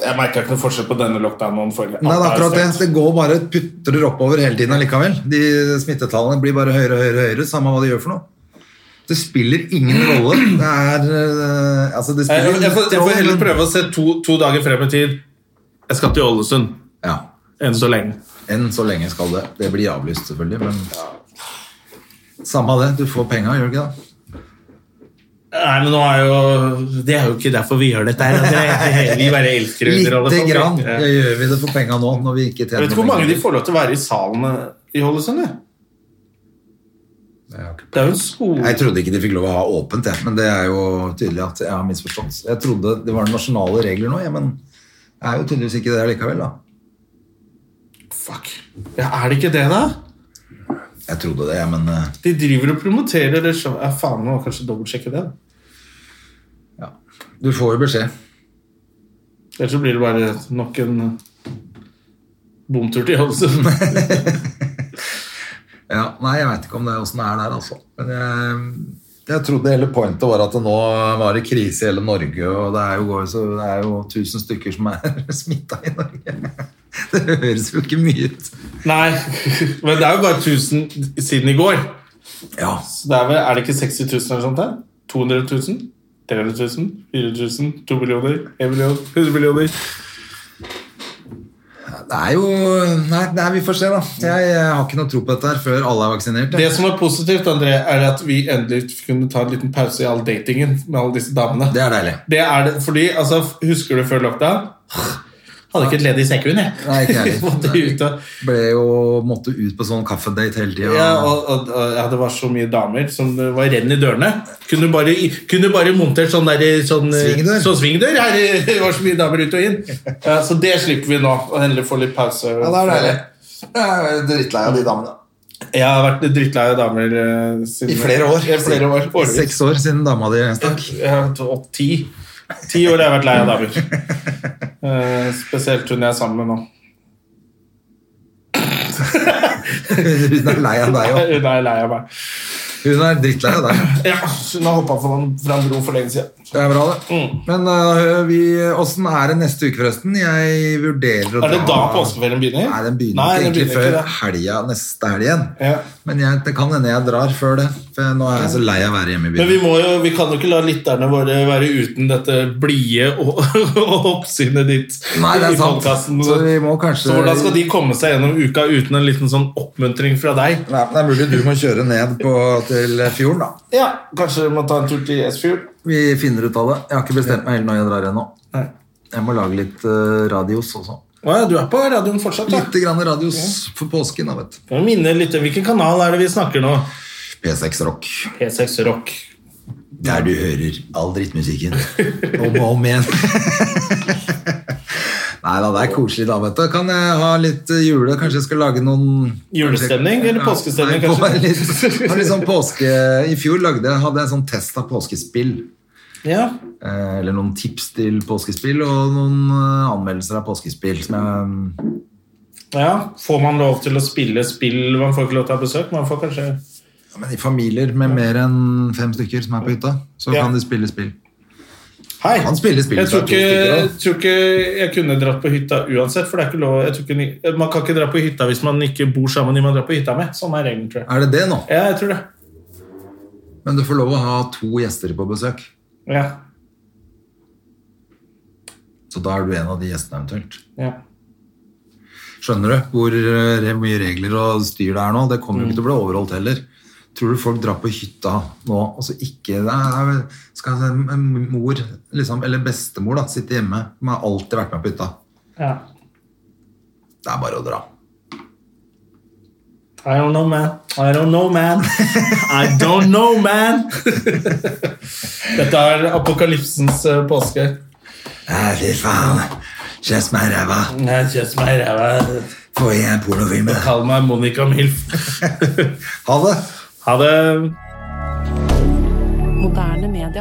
Speaker 1: Jeg merka ikke noe forskjell på denne lockdownen og den forrige.
Speaker 2: Nei, det er
Speaker 1: Alt er
Speaker 2: akkurat det.
Speaker 1: stengt.
Speaker 2: Det går bare putrer oppover hele tiden allikevel. De smittetallene blir bare høyere og høyere, høyere, samme hva de gjør for noe. Det spiller ingen rolle. Det er eh, Altså, det
Speaker 1: Jeg,
Speaker 2: spiller
Speaker 1: jeg, jeg, får, jeg får heller prøve å se to, to dager frem i tid. Jeg skal til Ålesund
Speaker 2: Ja.
Speaker 1: enn så lenge.
Speaker 2: Enn så lenge skal det. Det blir avlyst, selvfølgelig, men Samme det. Du får penga, gjør du ikke det?
Speaker 1: Nei, men nå er jo Det er jo ikke derfor vi gjør dette her. André. Vi bare elsker å underholde
Speaker 2: Lite
Speaker 1: folk.
Speaker 2: grann
Speaker 1: Ja.
Speaker 2: gjør vi det for penga nå, når vi ikke
Speaker 1: Jeg
Speaker 2: tjener
Speaker 1: vet ikke hvor mange de
Speaker 2: penger.
Speaker 1: får lov til å være i salen eh, i Ålesund. jeg.
Speaker 2: Jeg har ikke-
Speaker 1: Det er jo en skole
Speaker 2: Jeg trodde ikke de fikk lov å ha åpent, jeg. men det er jo tydelig at jeg har misforstått. Jeg trodde det var nasjonale regler nå, jeg, men det er jo tydeligvis ikke det likevel, da.
Speaker 1: Fuck. Ja, er det ikke det, da?
Speaker 2: Jeg trodde det, men eh,
Speaker 1: De driver og promoterer det showet. Ja, faen, nå må jeg kanskje dobbeltsjekke det. da.
Speaker 2: ja. du får jo beskjed.
Speaker 1: Ellers så blir det bare nok en eh, bomtur til Ålesund.
Speaker 2: Ja, nei, jeg veit ikke om det åssen det er der, altså. Men jeg, jeg trodde hele pointet var at det nå var det krise i hele Norge, og det er jo, går- så det er jo tusen stykker som er smitta i Norge. Det høres jo ikke mye ut.
Speaker 1: Nei, men det er jo bare 1000 siden i går.
Speaker 2: Ja,
Speaker 1: Så det er, vel, er det ikke 60 000 eller sånt der? 200 000? 300 000? 400 000? 2 millioner? 1 million? 100 millioner?
Speaker 2: det er jo Nei, nei vi får se, da. Jeg, jeg har ikke noe tro på dette her før alle er vaksinert.
Speaker 1: Det
Speaker 2: jeg.
Speaker 1: som er positivt, André, er at vi endelig kunne ta en liten pause i all datingen med alle disse damene.
Speaker 2: Det er deilig.
Speaker 1: Det er det, fordi, altså, Husker du før lockdown? Hadde ikke et ledig sekund, jeg.
Speaker 2: Nei, ikke jeg heller.
Speaker 1: Måtte ut og
Speaker 2: Ble jo måtte ut på sånn kaffedate hele tida.
Speaker 1: Ja, og, og, og ja, det var så mye damer som det var renn i dørene. Kunne bare, kunne bare montert sånn, der, sånn eh,
Speaker 2: Svingdør.
Speaker 1: Sånn svingdør her, eh, det var så mye damer ut og inn. Ja, så det slipper vi nå. Og endelig få litt pause.
Speaker 2: Ja, det er deilig. Jeg er drittlei av de damene.
Speaker 1: Jeg har vært drittlei av damer eh, siden
Speaker 2: I flere år.
Speaker 1: I flere år. Årevis.
Speaker 2: Seks år siden dama di stakk.
Speaker 1: Ja, to- og ti. Ti år har jeg vært lei av damer. Eh, spesielt hun jeg er sammen med nå.
Speaker 2: Hun er lei av deg òg.
Speaker 1: Hun er lei av meg.
Speaker 2: Hun er drittlei av deg.
Speaker 1: Ja, hun har hoppa fra fra en bro for lenge siden.
Speaker 2: Det er bra, det.
Speaker 1: Mm.
Speaker 2: Men øh, vi, åssen er det neste uke, forresten? Jeg vurderer å
Speaker 1: Er det da
Speaker 2: dra-
Speaker 1: påskeferien begynner?
Speaker 2: Nei, den begynner
Speaker 1: Nei,
Speaker 2: ikke
Speaker 1: den
Speaker 2: egentlig
Speaker 1: begynner ikke
Speaker 2: før
Speaker 1: det.
Speaker 2: helga neste helg igjen.
Speaker 1: Ja.
Speaker 2: Men jeg, det kan hende jeg drar før det. For nå er jeg så lei av å være hjemme i
Speaker 1: Men
Speaker 2: byen.
Speaker 1: vi, må jo, vi kan jo ikke la lytterne våre være uten dette blide og, og oppsynet ditt.
Speaker 2: Nei, det er
Speaker 1: i
Speaker 2: sant.
Speaker 1: podcasten.
Speaker 2: Så vi må kanskje-
Speaker 1: Så hvordan skal de komme seg gjennom uka uten en liten sånn oppmuntring fra deg?
Speaker 2: Nei, men det er mulig du må kjøre ned på, til fjorden, da.
Speaker 1: Ja, Kanskje vi må ta en tur til Esfjord?
Speaker 2: Vi finner ut av det. Jeg har ikke bestemt meg helt når jeg drar ennå.
Speaker 1: Nei.
Speaker 2: Jeg må lage litt øh, radios også.
Speaker 1: Å ja, du er på radioen fortsatt, da.
Speaker 2: Litt grann radios for påsken, da, vet du.
Speaker 1: Kan jeg minne litt, Hvilken kanal er det vi snakker nå?
Speaker 2: P6 Rock.
Speaker 1: P6 Rock.
Speaker 2: Der du hører all drittmusikken om og om igjen. Nei da, det er koselig da, vet du. Kan jeg ha litt eh, jule? Kanskje jeg skal lage noen
Speaker 1: Julestemning eller påskestemning,
Speaker 2: Nei, på-
Speaker 1: kanskje?
Speaker 2: Litt, ha litt sånn påske... I fjor lagde jeg, hadde jeg en sånn test av påskespill.
Speaker 1: Ja.
Speaker 2: Eh, eller noen tips til påskespill, og noen eh, anmeldelser av påskespill. Som jeg,
Speaker 1: ja. Får man lov til å spille spill? Man får ikke lov til å ha besøk. Man får kanskje
Speaker 2: ja, men I familier med mer enn fem stykker som er på hytta, så
Speaker 1: Ja.
Speaker 2: kan de spille spill.
Speaker 1: Hei!
Speaker 2: Kan spille spill
Speaker 1: Jeg tror
Speaker 2: fra to
Speaker 1: ikke,
Speaker 2: stykker, da.
Speaker 1: tror ikke jeg kunne dratt på hytta uansett. For det er ikke lov jeg tror ikke, ni- Man kan ikke dra på hytta hvis man ikke bor sammen med de man drar på hytta med. Sånn er regelen, tror jeg.
Speaker 2: Er det det nå?
Speaker 1: Ja, jeg tror det.
Speaker 2: Men du får lov å ha to gjester på besøk.
Speaker 1: Ja.
Speaker 2: Så da er du en av de gjestene eventuelt.
Speaker 1: Ja.
Speaker 2: Skjønner du hvor eh, re- mye regler og styr det er nå? Det kommer jo ikke til å bli overholdt heller. Tror du folk drar på hytta nå, og så ikke nei, Skal en- en mor, liksom, eller bestemor, da, sitte hjemme? De har alltid vært med på hytta.
Speaker 1: ja.
Speaker 2: Det er bare å dra.
Speaker 1: I don't know, man. I don't know, man. I don't know, man. Dette er apokalypsens eh, påske.
Speaker 2: Nei, fy faen. Kjess meg i ræva.
Speaker 1: Nei, kjøss meg i ræva.
Speaker 2: Få i en pornofilm. i deg.
Speaker 1: Kall meg Monica Milf.
Speaker 2: Ha det!
Speaker 1: Ha det.
Speaker 3: Moderne media.